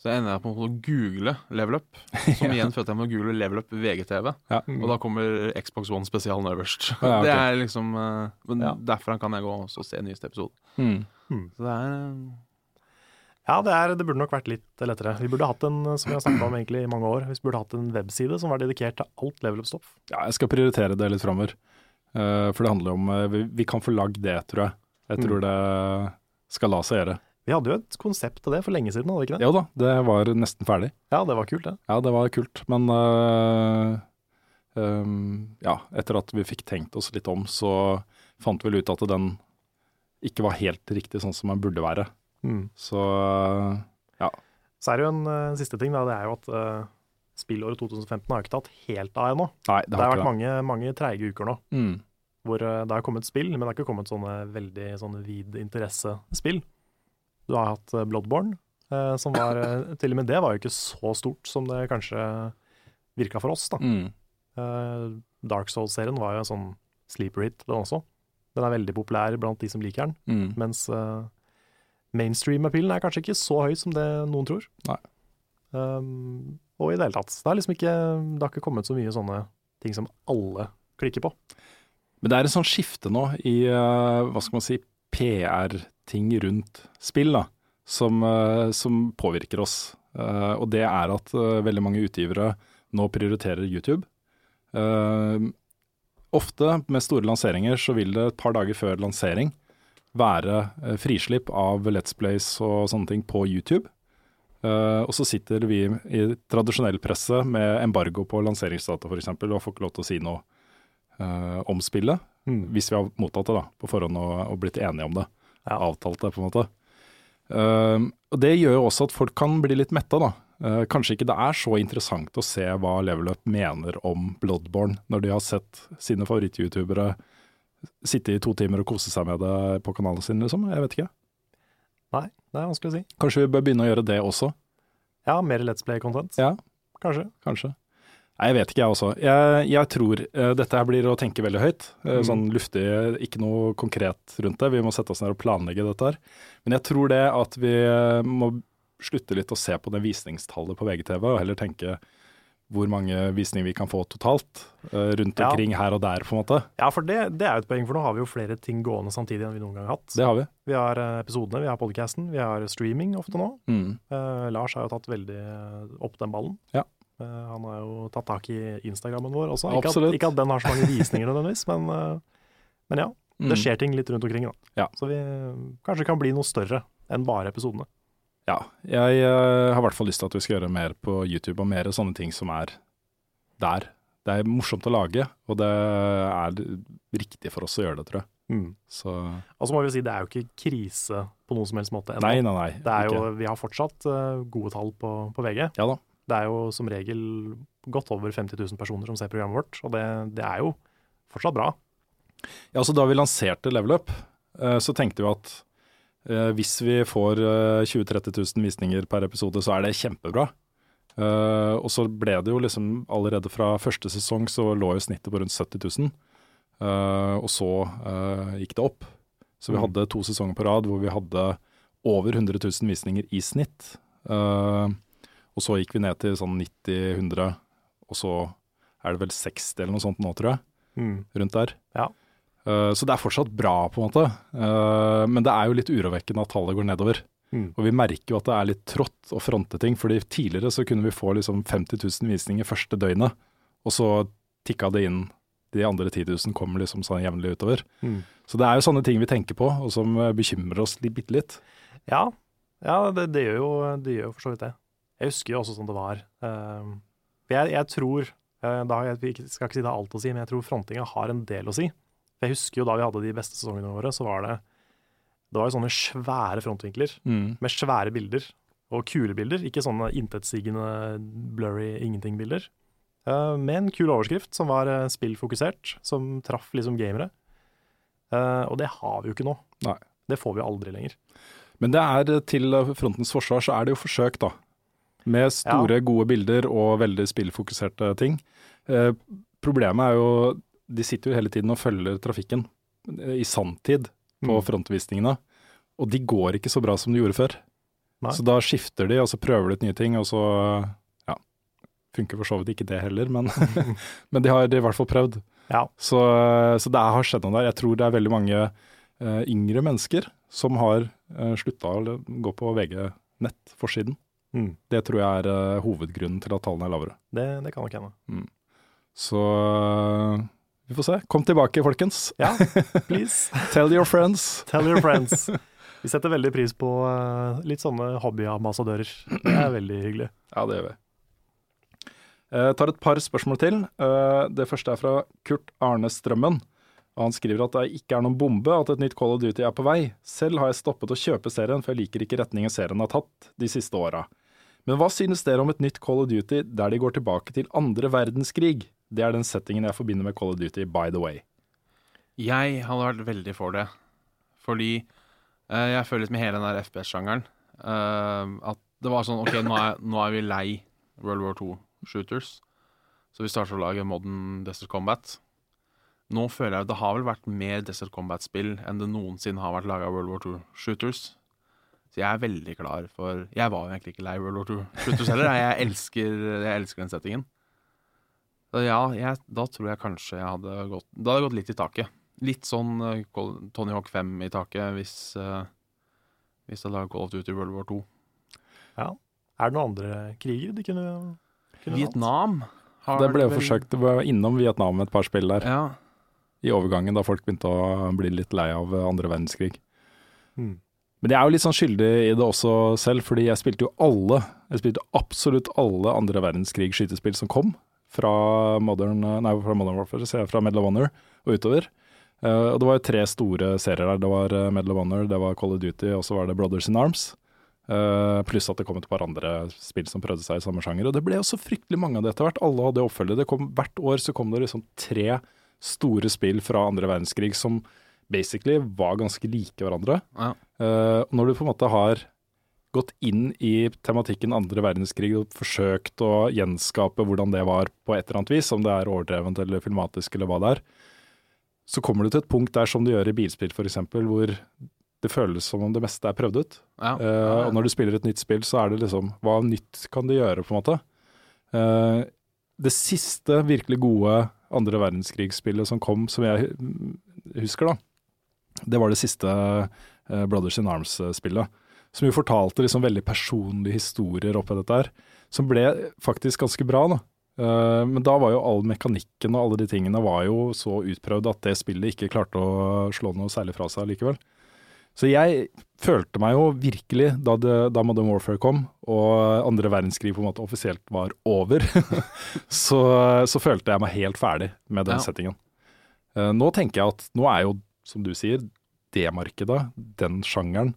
A: Så ender jeg på å google level up, som igjen fører til at jeg må google level up VGTV.
C: Ja.
A: Og da kommer Xbox One spesialen øverst.
C: Ja, ok.
A: Det er liksom eh, Men
C: Ja.
A: derfra kan jeg gå også og se nyeste episode.
C: Mm.
A: Så det er eh,
B: Ja, det, er, det burde nok vært litt lettere. Vi burde hatt en, eh, som vi har snakket om egentlig i mange år, vi burde hatt en webside som var dedikert til alt level up-stoff.
C: Ja, jeg skal prioritere det litt framover. for det handler om eh, vi, vi kan få lagd det, tror jeg.
A: Mm.
C: Jeg tror det skal la seg gjøre.
B: Vi hadde jo et konsept til det for lenge siden, hadde vi ikke det?
C: Jo da, det var nesten ferdig.
B: Ja, det var kult, det.
C: Ja, det var kult, men eh, ehm, ja, etter at vi fikk tenkt oss litt om, så fant vi vel ut at den ikke var helt riktig sånn som den burde være. Så eh,
B: Mm. Så er det jo en eh, siste ting, da. Det er jo at eh, spillåret 2015 har jo ikke tatt helt av ennå.
C: nei,
B: Det
C: det
B: har
C: har
B: vært
C: ikke det.
B: mange, mange treige uker nå
C: Mm.
B: hvor eh, det har kommet spill, men det har ikke kommet sånne veldig sånne vid interessespill. Du har hatt eh, Bloodborne, eh, som var eh, Til og med det var jo ikke så stort som det kanskje virka for oss, da.
C: Mm.
B: Eh, Dark Souls-serien var jo en sånn sleeper hit, den også. Den er veldig populær blant de som liker den.
C: Mm.
B: Mens eh, mainstream-appealen er kanskje ikke så høy som det noen tror.
C: Nei.
B: Um, og i det hele tatt. Det, er liksom ikke, det har ikke kommet så mye sånne ting som alle klikker på.
C: Men det er et sånt skifte nå i eh, hva skal man si, PR-ting rundt spill da, som, eh, som påvirker oss. Eh, og det er at eh, veldig mange utgivere nå prioriterer YouTube. Eh, ofte med store lanseringer så vil det et par dager før lansering være eh, frislipp av Let's Plays og sånne ting på YouTube. Eh, og så sitter vi i tradisjonell presse med embargo på lanseringsdata f.eks. og får ikke lov til å si noe eh, om spillet, hvis vi har mottatt det da, på forhånd og, og blitt enige om det.
B: Ja.
C: Avtalt det, på en måte. Um, og Det gjør jo også at folk kan bli litt metta, da. Uh, kanskje ikke det er så interessant å se hva Level Up mener om Bloodborne, når de har sett sine favoritt-youtubere sitte i to timer og kose seg med det på kanalen sin, liksom. Jeg vet ikke.
B: Nei, det er vanskelig å si.
C: Kanskje vi bør begynne å gjøre det også?
B: Ja, mer Let's Play-content.
C: Ja,
B: Kanskje.
C: kanskje. Nei, jeg vet ikke jeg også. Jeg, jeg tror eh, dette her blir å tenke veldig høyt. eh,
B: Mm.
C: Sånn luftig, ikke noe konkret rundt det. Vi må sette oss ned og planlegge dette her. Men jeg tror det at vi eh, må slutte litt å se på det visningstallet på VGTV, og heller tenke hvor mange visninger vi kan få totalt eh, rundt
B: Ja.
C: omkring her og der, på en måte.
B: Ja, for det, det er jo et poeng, for nå har vi jo flere ting gående samtidig enn vi noen gang har hatt.
C: Det har vi.
B: Vi har eh, episodene, vi har podcasten, vi har streaming ofte nå. Eh, Lars har jo tatt veldig eh, opp den ballen.
C: Ja.
B: Eh, han har jo tatt tak i Instagrammen vår også. Ikke
C: Absolutt.
B: at, ikke at den har så mange visninger nødvendigvis, men, eh, men ja. Det
C: Mm.
B: skjer ting litt rundt omkring, da.
C: Ja.
B: Så vi eh, kanskje kan bli noe større enn bare episodene.
C: Ja. Jeg eh, har i hvert fall lyst til at vi skal gjøre mer på YouTube, og mer sånne ting som er der. Det er morsomt å lage, og det er riktig for oss å gjøre det, tror jeg. Så
B: Og så må vi jo si det er jo ikke krise på noen som helst måte ennå.
C: Nei, nei, nei.
B: Det er jo,
C: ikke.
B: vi har fortsatt eh, gode tall på, på VG.
C: Ja da.
B: Det er jo som regel godt over 50 000 personer som ser programmet vårt, og det, det er jo fortsatt bra.
C: Ja, så da vi lanserte Level Up, eh, så tenkte vi at eh, hvis vi får eh, 20 000-30 000 visninger per episode, så er det kjempebra. Eh, og så ble det jo liksom allerede fra første sesong så lå jo snittet på rundt 70 000. eh, og så eh, gikk det opp. Så vi
B: Mm.
C: hadde to sesonger på rad hvor vi hadde over 100 000 visninger i snitt. Eh, og så gikk vi ned til sånn 90-100, og så er det vel 60 eller noe sånt nå, tror jeg rundt der.
B: Ja.
C: Eh, så det er fortsatt bra, på en måte. Eh, men det er jo litt urovekkende at tallet går nedover.
B: Mm.
C: Og vi merker jo at det er litt trått å fronte ting, fordi tidligere så kunne vi få liksom 50 000 visninger første døgnet, og så tikka det inn. De andre 10 000 kommer liksom sånn jevnlig utover.
B: Mm.
C: Så det er jo sånne ting vi tenker på, og som eh, bekymrer oss litt- bitte litt.
B: Ja, ja det, det, gjør jo, det gjør jo for så vidt det. Jeg husker jo også sånn det var. Eh, for jeg, jeg tror eh, da, har Jeg vi ikke- skal ikke si det har alt å si, men jeg tror frontinga har en del å si. For jeg husker jo da vi hadde de beste sesongene våre, så var det Det var jo sånne svære frontvinkler.
C: Mm.
B: med svære bilder og kule bilder, ikke sånne intetsigende, blurry ingenting-bilder. Eh, med en kul overskrift som var eh, spillfokusert, som traff liksom gamere. Eh, og det har vi jo ikke nå.
C: Nei.
B: Det får vi jo aldri lenger.
C: Men det er eh, til eh, frontens forsvar så er det jo forsøk, da. Med store, gode bilder og veldig spillfokuserte ting. Eh, problemet er jo de sitter jo hele tiden og følger trafikken eh, i sanntid på
B: Mm.
C: frontvisningene. Og de går ikke så bra som de gjorde før.
B: Nei.
C: Så da skifter de, og så prøver de ut nye ting, og så ja, funker for så vidt ikke det heller, men, men de har de har i hvert fall prøvd.
B: Ja.
C: Så, eh, så det har skjedd noe der. Jeg tror det er veldig mange eh, yngre mennesker som har uh, slutta å gå på VG-nett forsiden.
B: Mm.
C: Det tror jeg er eh, hovedgrunnen til at tallene er lavere.
B: Det, det kan nok hende.
C: Så eh, vi får se. Kom tilbake, folkens.
B: Ja, please.
C: Tell your friends.
B: Tell your friends. Vi setter veldig pris på eh, litt sånne hobbyambassadører. Det er veldig hyggelig.
C: Ja, det gjør vi. Jeg tar et par spørsmål til. Eh, Det første er fra Kurt Arne Strømmen. Og Han skriver at det ikke er noen bombe at et nytt Call of Duty er på vei. Selv har jeg stoppet å kjøpe serien, for jeg liker ikke retningen serien har tatt de siste åra. Men hva synes dere om et nytt Call of Duty der de går tilbake til andre verdenskrig? Det er den settingen jeg forbinder med Call of Duty, by the way.
A: Jeg hadde vært veldig for det. Fordi eh, jeg føler litt med hele den der FPS-sjangeren eh, at det var sånn OK, nå er, nå er vi lei World War II-shooters. Så vi starter å lage modern Desert Combat. Nå føler jeg at det har vel vært mer Desert Combat-spill enn det noensinne har vært laga World War II-shooters. Så jeg er veldig klar for Jeg var jo egentlig ikke lei World War II-shooters heller. Jeg elsker, jeg elsker den settingen. Så ja, jeg, da tror jeg kanskje jeg hadde gått Da hadde jeg gått litt i taket. Litt sånn eh, Call- Tony Hawk 5 i taket hvis, eh, hvis jeg lager Call of Duty World War 2.
B: Er det noen andre kriger de kunne, kunne
A: Vietnam har
C: Det ble jo
A: vel-
C: forsøkt. Vi var innom Vietnam med et par spill der.
A: Ja.
C: I overgangen da folk begynte å bli litt lei av andre verdenskrig.
B: Mm.
C: Men jeg er jo litt sånn skyldig i det også selv, fordi jeg spilte jo alle, jeg spilte absolutt alle andre verdenskrig skytespill som kom, fra Modern, nei, fra Modern Warfare, sier jeg, fra Medal of Honor og utover. Eh, og det var jo tre store serier der. Det var eh, Medal of Honor, det var Call of Duty, og så var det Brothers in Arms. Eh, pluss at det kom et par andre spill som prøvde seg i samme sjanger. Og det ble jo så fryktelig mange av det etter hvert. Alle hadde oppfølgere. Det kom- Hvert år så kom det liksom tre store spill fra andre verdenskrig som basically var ganske like hverandre.
A: Ja.
C: Eh, og når du på en måte har gått inn i tematikken andre verdenskrig og forsøkt å gjenskape hvordan det var på et eller annet vis, om det er overdrevent eller filmatisk eller hva det er, så kommer du til et punkt der som du gjør i bilspill f.eks., hvor det føles som om det meste er prøvd ut.
A: Ja.
C: Eh, og når du spiller et nytt spill, så er det liksom Hva nytt kan de gjøre, på en måte? Eh, det siste virkelig gode andre verdenskrigsspillet som kom, som jeg mm, husker, da, det var det siste eh, Brothers in Arms-spillet. Som jo fortalte liksom veldig personlige historier oppi dette her, som ble faktisk ganske bra. da. Eh, men da var jo all mekanikken og alle de tingene var jo så utprøvd at det spillet ikke klarte å slå noe særlig fra seg likevel. Så jeg følte meg jo virkelig da, det, da Modern Warfare kom, og andre verdenskrig på en måte offisielt var over, så, så følte jeg meg helt ferdig med den
A: Ja.
C: settingen. Eh, Nå tenker jeg at nå er jo, som du sier, det markedet, den sjangeren,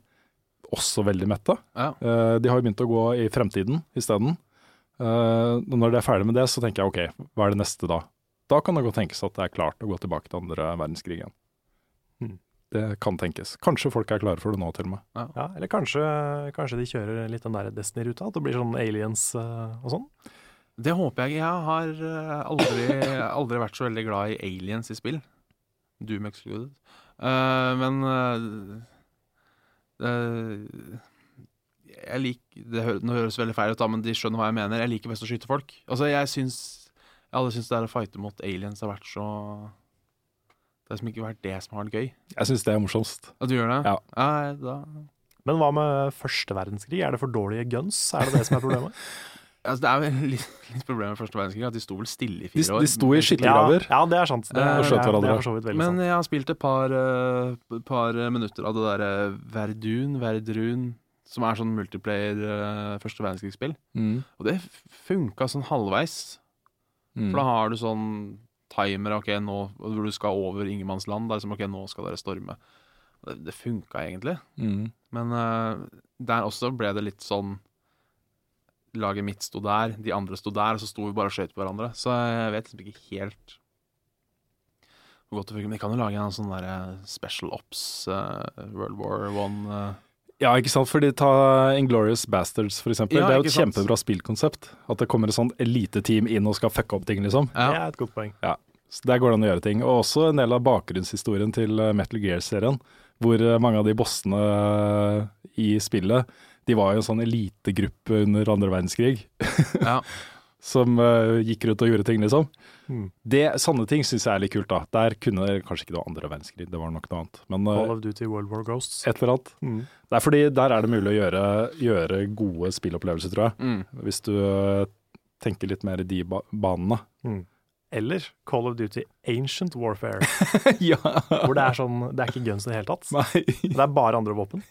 C: også veldig metta.
A: Ja.
C: Eh, De har jo begynt å gå i fremtiden isteden. Eh, og Når det er ferdig med det, så tenker jeg ok, hva er det neste da? Da kan det godt tenkes at det er klart å gå tilbake til andre verdenskrig igjen.
A: Mm.
C: Det kan tenkes. Kanskje folk er klare for det nå, til og med.
B: Ja, eller kanskje, kanskje de kjører litt den der Destiny-ruta, at det blir sånn aliens eh, og sånn.
A: Det håper jeg. Jeg har eh, aldri, aldri vært så veldig glad i aliens i spill. Doom excluded. Eh, men eh, eh, jeg lik, det hø Nå høres det veldig feil ut, da, men de skjønner hva jeg mener. Jeg liker best å skyte folk. Altså, Jeg syns Jeg hadde syntes det der å fighte mot aliens har vært så Det har liksom ikke vært det som har vært gøy.
C: Jeg syns det er morsomst.
A: At du gjør det?
C: Ja.
A: Nei, da
B: Men hva med første verdenskrig? Er det for dårlige guns? Er det det som er problemet?
A: altså, Det er vel litt, litt problemet med første verdenskrig, at de sto vel stille i
C: De,
A: fire år.
C: de sto i skyttergraver.
B: ja, det er sant. Det
A: Eh,
B: er,
A: og
B: det
C: skjøt
B: er, det
C: hverandre.
B: er for så vidt veldig
A: Men
B: sant.
A: jeg har spilt et par, eh, p- par eh, minutter av det derre Verdun, Verdrun, som er sånn multiplayer eh, første verdenskrigsspill.
C: Mm.
A: Og det f- funka sånn halvveis.
B: Mm.
A: For da har du sånn timer ok, nå, hvor du skal over ingenmannsland. Det er liksom, ok, nå skal dere storme. Og Det, det funka egentlig.
C: Mm.
A: Men eh, der også ble det litt sånn Laget mitt sto der, de andre sto der, og så sto vi bare og skjøt på hverandre. Så jeg vet liksom ikke helt hvor godt det funker. Men de kan jo lage en sånn der eh, Special Ops eh, World War One eh.
C: Ja, ikke sant. Fordi ta Inglorious Bastards, for eksempel.
A: Ja,
C: det er jo
A: ikke
C: et
A: sant.
C: kjempebra spillkonsept. At det kommer et sånt eliteteam inn og skal fucke opp ting, liksom.
A: ja.
B: Det er et godt poeng.
C: Så der går det an å gjøre ting. Og også en del av bakgrunnshistorien til eh, Metal Gear-serien, hvor eh, mange av de bossene eh, i spillet, de var jo en sånn elitegruppe under andre verdenskrig,
A: Ja.
C: som eh, gikk rundt og gjorde ting, liksom.
B: Mm.
C: Det, Sånne ting syns jeg er litt kult, da. Der kunne kanskje ikke det var andre verdenskrig, det var nok noe annet. Men eh,
B: Call of Duty World War Ghosts.
C: et eller annet.
B: Mm.
C: Det er fordi der er det mulig å gjøre, gjøre gode spillopplevelser, tror jeg.
A: Mm.
C: Hvis du eh, tenker litt mer i de ba banene.
B: Eller Call of Duty Ancient Warfare,
C: ja!
B: hvor det er sånn Det er ikke guns i det hele tatt.
C: Nei,
B: Det er bare andre våpen.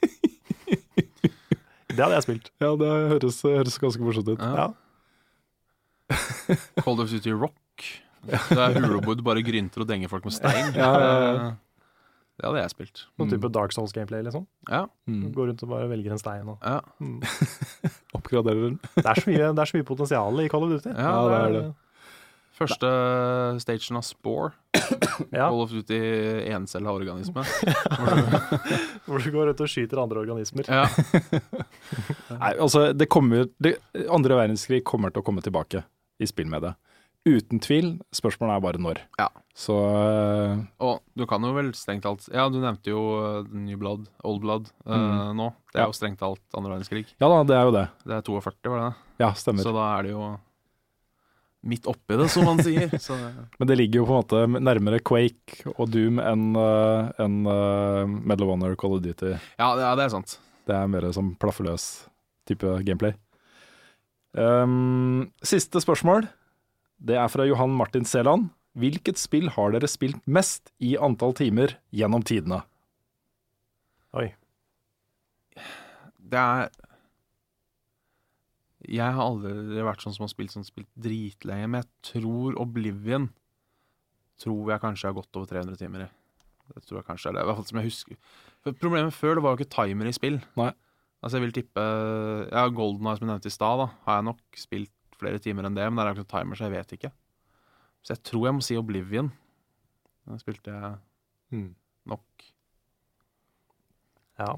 B: Det hadde jeg spilt.
C: ja, det høres, høres ganske morsomt ut.
A: Ja. Cold of Duty Rock. Det er hulebodd, bare grynter og denger folk med stein.
C: Ja, ja, ja.
A: Eh, Det hadde jeg spilt.
B: Noen
C: Mm.
B: type Dark Souls-gameplay, liksom.
A: Ja,
B: Du
C: Mm.
B: Går rundt og bare velger en stein og Mm.
A: ja.
C: Oppgraderer den.
B: Det er så mye, det er så mye potensial i Call of Duty.
A: Ja,
C: det er
A: Første stagen av Spore.
B: Ja,
A: Call of Duty encella organisme.
B: hvor du går rundt og skyter andre organismer.
A: Ja.
C: Nei, altså, det kommer det, Andre verdenskrig kommer til å komme tilbake i spillmediet. Uten tvil. Spørsmålet er bare når.
A: Ja.
C: Så eh,
A: Og du kan jo vel strengt talt Ja, du nevnte jo eh, New Blood, Old Blood, eh,
C: Mm.
A: nå. Det er
C: Ja.
A: jo strengt talt andre verdenskrig.
C: Ja da, det er jo det.
A: Det er 42, var det det?
C: Ja, stemmer.
A: Så da er det jo midt oppi det, som man sier. Så,
C: Men det ligger jo på en måte nærmere Quake og Doom enn eh, enn, eh, Medal of Honor Call of Duty.
A: ja, det- ja, det er sant.
C: Det er mer som plaffeløs type gameplay. Ehm, siste spørsmål. Det er fra Johan Martin Seland. Hvilket spill har dere spilt mest i antall timer gjennom tidene?
A: Det er Jeg har aldri vært sånn som har spilt sånn spilt dritlenge, men jeg tror Oblivion Tror jeg kanskje jeg har gått over 300 timer i. Det tror jeg kanskje er det. I hvert fall som jeg husker. For problemet før det var jo ikke timer i spill.
C: Nei.
A: Altså jeg vil tippe ja, Golden Eye, som jeg nevnte i stad, da, har jeg nok spilt flere timer enn det. Men det er jo ikke noen timer, så jeg vet ikke. Så jeg tror jeg må si Oblivion. Den spilte jeg
B: Mm.
A: nok.
B: Ja.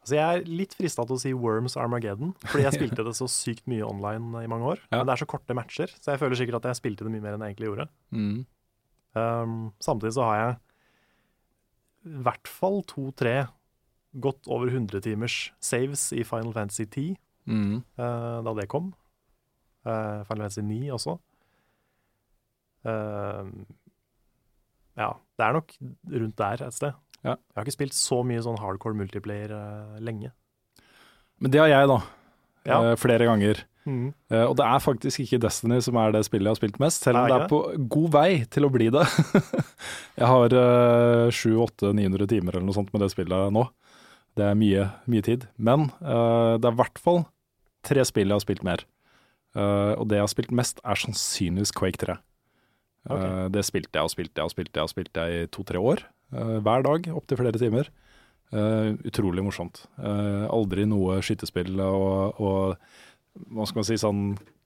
B: Altså jeg er litt frista til å si Worms Armageddon, fordi jeg spilte det så sykt mye online i mange år.
C: Ja.
B: Men det er så korte matcher, så jeg føler sikkert at jeg spilte det mye mer enn jeg egentlig gjorde.
C: Mm.
B: Um, samtidig så har jeg i hvert fall to-tre godt over 100 timers saves i Final Fantasy 10
C: Mm.
B: eh, da det kom. Eh, Final Fantasy 9 også. Eh, ja, det er nok rundt der et sted.
C: Ja.
B: Jeg har ikke spilt så mye sånn hardcore multiplayer eh, lenge.
C: Men det har jeg, da.
B: Ja.
C: Eh, flere ganger.
B: Mm.
C: Eh, og det er faktisk ikke Destiny som er det spillet jeg har spilt mest, selv om
B: Er
C: det
B: det
C: er på god vei til å bli det. jeg har eh, 700-800-900 timer eller noe sånt med det spillet nå. Det er mye, mye tid. Men eh, det er i hvert fall tre spill jeg har spilt mer. Eh, og det jeg har spilt mest, er sannsynligvis Quake 3. Eh,
B: Ok.
C: det spilte jeg og spilte jeg og spilte jeg og spilte jeg i to-tre år. eh, hver dag, opptil flere timer. Eh, utrolig morsomt. Eh, aldri noe skytespill og, og hva skal man si, sånn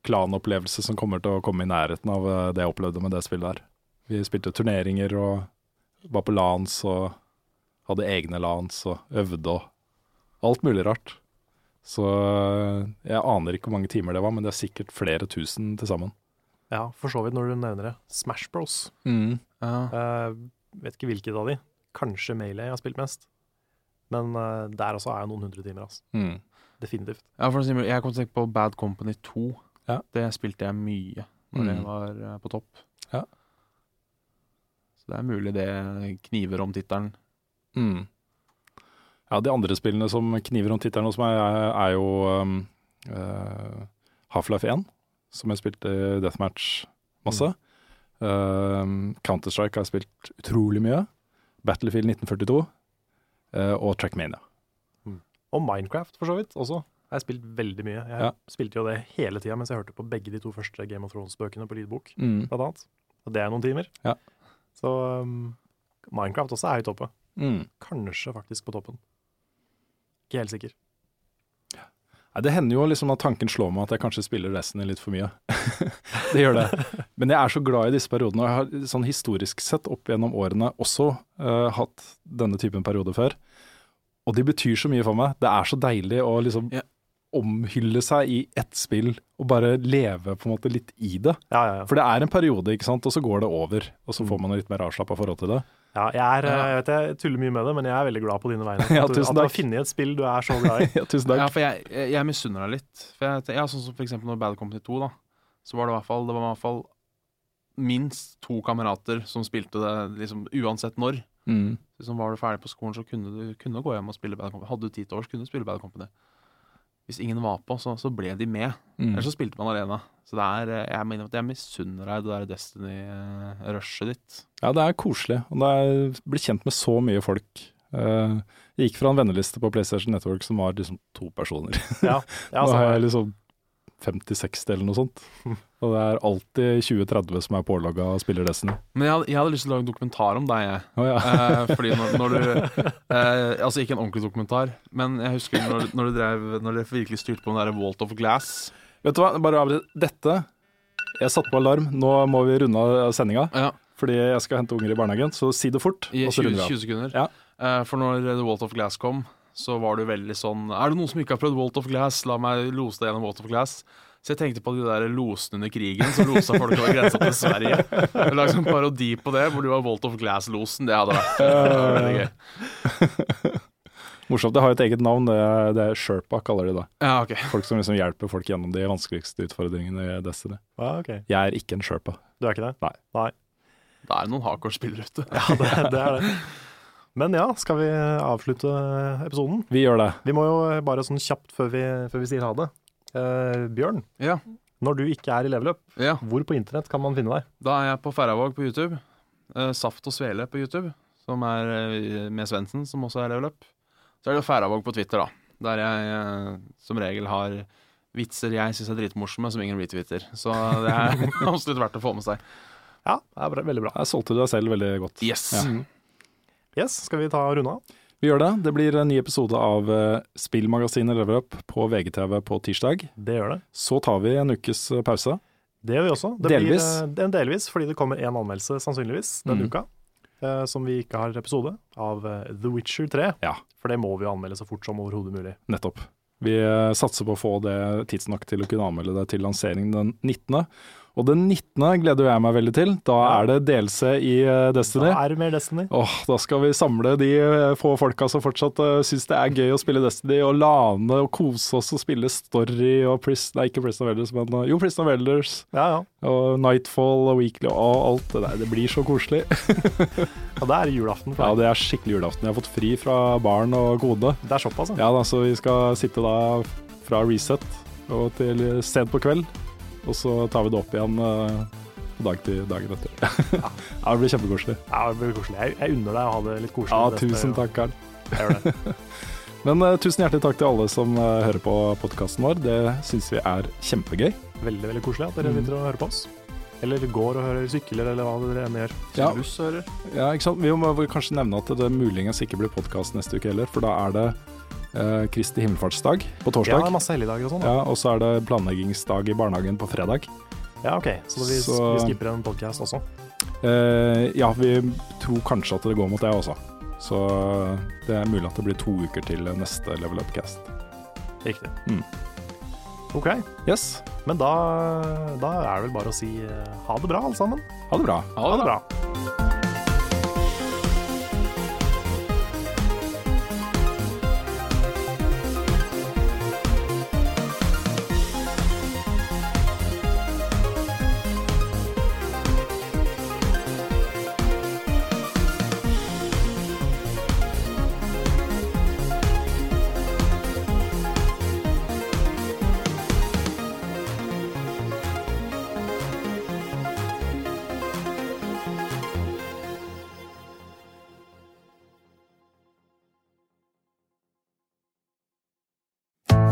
C: klanopplevelse som kommer til å komme i nærheten av eh, det jeg opplevde med det spillet her. Vi spilte turneringer og var på LANs og hadde egne LANs og øvde og alt mulig rart. Så eh, jeg aner ikke hvor mange timer det var, men det er sikkert flere tusen til sammen.
B: Ja, for så vidt når du nevner det. Smash Bros.
A: Ja.
B: Eh, vet ikke hvilket av de. Kanskje Melee jeg har spilt mest. Men eh, der også er jeg noen hundre timer, altså.
C: Mm.
B: Definitivt.
A: Ja, for å si det, jeg kom til å tenke på Bad Company 2.
C: Ja.
A: Det spilte jeg mye når det
C: Mm.
A: var eh, på topp.
C: Ja.
A: Så det er mulig det kniver om tittelen.
C: Mm. Ja, de andre spillene som kniver om tittelen hos meg, er, er jo um, eh, Half-Life 1, som jeg spilte Deathmatch masse. Um, Counter-Strike har jeg spilt utrolig mye. Battlefield 1942 eh, og Trackmania.
B: Og Minecraft, for så vidt, også. Jeg har spilt veldig mye. Jeg
C: Ja.
B: spilte jo det hele tida mens jeg hørte på begge de to første Game of Thrones-bøkene på lydbok,
C: Mm.
B: blant annet. Og det er noen timer.
C: Ja.
B: Så um, Minecraft også er høyt oppe.
C: Mm.
B: Kanskje faktisk på toppen. Ikke helt sikker.
C: Nei, det hender jo liksom at tanken slår meg at jeg kanskje spiller Destiny litt for mye. det gjør det. Men jeg er så glad i disse periodene. og Jeg har sånn historisk sett opp gjennom årene også eh, hatt denne typen perioder før. Og de betyr så mye for meg. Det er så deilig å liksom
A: Ja.
C: omhylle seg i ett spill og bare leve på en måte litt i det.
B: Ja, ja, ja.
C: For det er en periode, ikke sant, og så går det over. Og
A: Mm.
C: så får man litt mer avslappa forhold til det.
B: ja jeg, er, eh, jeg vet jeg tuller mye med det, men jeg er veldig glad på dine vegne.
C: Ja,
B: At du,
C: tusen
B: at du har
C: takk.
B: funnet et spill du er så glad i.
C: Ja, tusen
A: Ja,
C: takk.
A: for jeg, jeg, jeg misunner deg litt. For jeg, ten- ja, sånn som for eksempel når Bad Company 2, da, så var det i hvert fall, det var i hvert fall minst to kamerater som spilte det liksom, uansett når.
C: Mm.
A: Liksom, var du ferdig på skolen, så kunne du kunne gå hjem og spille Bad Company. Hadde du tid til års, kunne du spille Bad Company. Hvis ingen var på, så, så ble de med.
C: Mm.
A: Eller så spilte man alene. Så det er, eh, jeg mener at jeg misunner deg det der Destiny-rushet ditt.
C: Ja, det er koselig. Og det er blir kjent med så mye folk. Eh, jeg gikk fra en venneliste på PlayStation Network som var liksom to personer.
B: Ja, ja,
C: Nå
B: så,
C: har jeg liksom 50-60 eller noe sånt. Og det er alltid 20-30 som er pålogga og spiller Destiny.
A: Men jeg, hadde- jeg hadde lyst til å lage en dokumentar om deg, jeg.
C: Å ja.
A: Eh, fordi når, når du eh, Altså ikke en ordentlig dokumentar, men jeg husker når, når, du drev, når dere virkelig styrte på den der Walt of Glass.
C: Vet du hva, bare avbryt. Dette Jeg satte på alarm. Nå må vi runde av sendinga,
A: Ja,
C: fordi jeg skal hente unger i barnehagen. Så si det fort,
A: I
C: og så
A: 20,
C: runder vi av.
A: 20 sekunder.
C: Ja.
A: Eh, for når The Walt of Glass kom, så var du veldig sånn Er det noen som ikke har prøvd Walt of Glass? La meg lose deg gjennom Walt of Glass. Så jeg tenkte på de der losene under krigen som losa folk over grensa til Sverige. Jeg lagde en parodi på det, hvor du var Walt of Glass-losen. Det hadde vært det hadde vært veldig gøy.
C: Eh, Morsomt. Det har jo et eget navn. Det er, det er Sherpa, kaller de det.
A: Ja, ok.
C: Folk som liksom hjelper folk gjennom de vanskeligste utfordringene i Destiny.
B: ja, ok.
C: Jeg er ikke en Sherpa.
B: Du er ikke det?
C: Nei.
A: Da er det noen hardcore-spillere ute.
B: Ja, det, det er det. Men ja, skal vi avslutte episoden?
C: Vi gjør det.
B: Vi må jo bare sånn kjapt før vi, før vi sier ha det. Eh, Bjørn,
A: Ja.
B: når du ikke er i leveløp,
A: ja.
B: hvor på internett kan man finne deg?
A: Da er jeg på Færøyvåg på YouTube. Eh, Saft og Svele på YouTube, som er eh, med Svendsen, som også er level up. Så er det jo Færøyvåg på Twitter, da. Der jeg eh, som regel har vitser jeg syns er dritmorsomme, som ingen retwitter. Så det er absolutt verdt å få med seg.
B: Ja, det er bra, veldig bra.
C: Jeg solgte deg selv veldig godt.
A: Yes!
C: Ja.
B: Yes, skal vi ta og runde av?
C: Vi gjør det. Det blir en ny episode av eh, spillmagasinet Level Up på VGTV på tirsdag.
B: Det gjør det.
C: Så tar vi en ukes eh, pause.
B: Det gjør vi også. Det
C: Delvis.
B: Blir, eh, en delvis, fordi det kommer én anmeldelse sannsynligvis denne
C: Mm.
B: uka, eh, som vi ikke har episode av eh, The Witcher 3.
C: Ja.
B: For det må vi jo anmelde så fort som overhodet mulig.
C: Nettopp. Vi eh, satser på å få det tidsnok til å kunne anmelde det til lanseringen den 19. Og den 19. gleder jeg meg veldig til. Da er det delelse i eh, Destiny.
B: Da er det mer Destiny.
C: Åh, da skal vi samle de eh, få folka som fortsatt uh, syns det er gøy å spille Destiny, og lane og kose oss og spille Story og Pris... Nei, ikke Prison of Elders, men eh, jo, Prison of Elders.
B: Ja, ja.
C: Og Nightfall og Weekly og alt det der. Det blir så koselig.
B: Og det er julaften. For
C: Ja,
B: deg.
C: det er skikkelig julaften. Jeg har fått fri fra barn og kone.
B: det er såpass, altså. ja.
C: Ja da, så vi skal sitte da fra reset og til sent på kveld. Og så tar vi det opp igjen eh, på dag til dagen etter. ja, det blir kjempekoselig.
B: ja det blir koselig. Jeg, jeg unner deg å ha det litt koselig.
C: Ja,
B: med Destiny,
C: tusen
B: og-
C: takk, Karl.
B: Jeg gjør det.
C: Men eh, tusen hjertelig takk til alle som eh, hører på podkasten vår. Det syns vi er kjempegøy.
B: Veldig, veldig koselig at dere
C: Mm.
B: sitter og hører på oss. Eller går og hører sykler, eller hva dere enn gjør.
C: Ja.
B: Buss og hører.
C: Ja, ikke sant? Vi må vel kanskje nevne at det muligens ikke blir podkast neste uke heller, for da er det eh, Kristi himmelfartsdag på
B: Ja, det
C: torsdag.
B: er masse helligdager og sånn. da.
C: Ja, og så er det planleggingsdag i barnehagen på fredag.
B: Ja, ok. Så vi,
C: Så-
B: vi skipper en podcast også.
C: Eh, ja, vi tror kanskje at det går mot det også. Så eh, det er mulig at det blir to uker til neste Level Upcast.
B: Riktig.
C: Mm.
B: Ok.
C: Yes,
B: Men da, da er det vel bare å si eh, ha det bra, alle sammen.
C: ha det bra.
B: Ha det bra.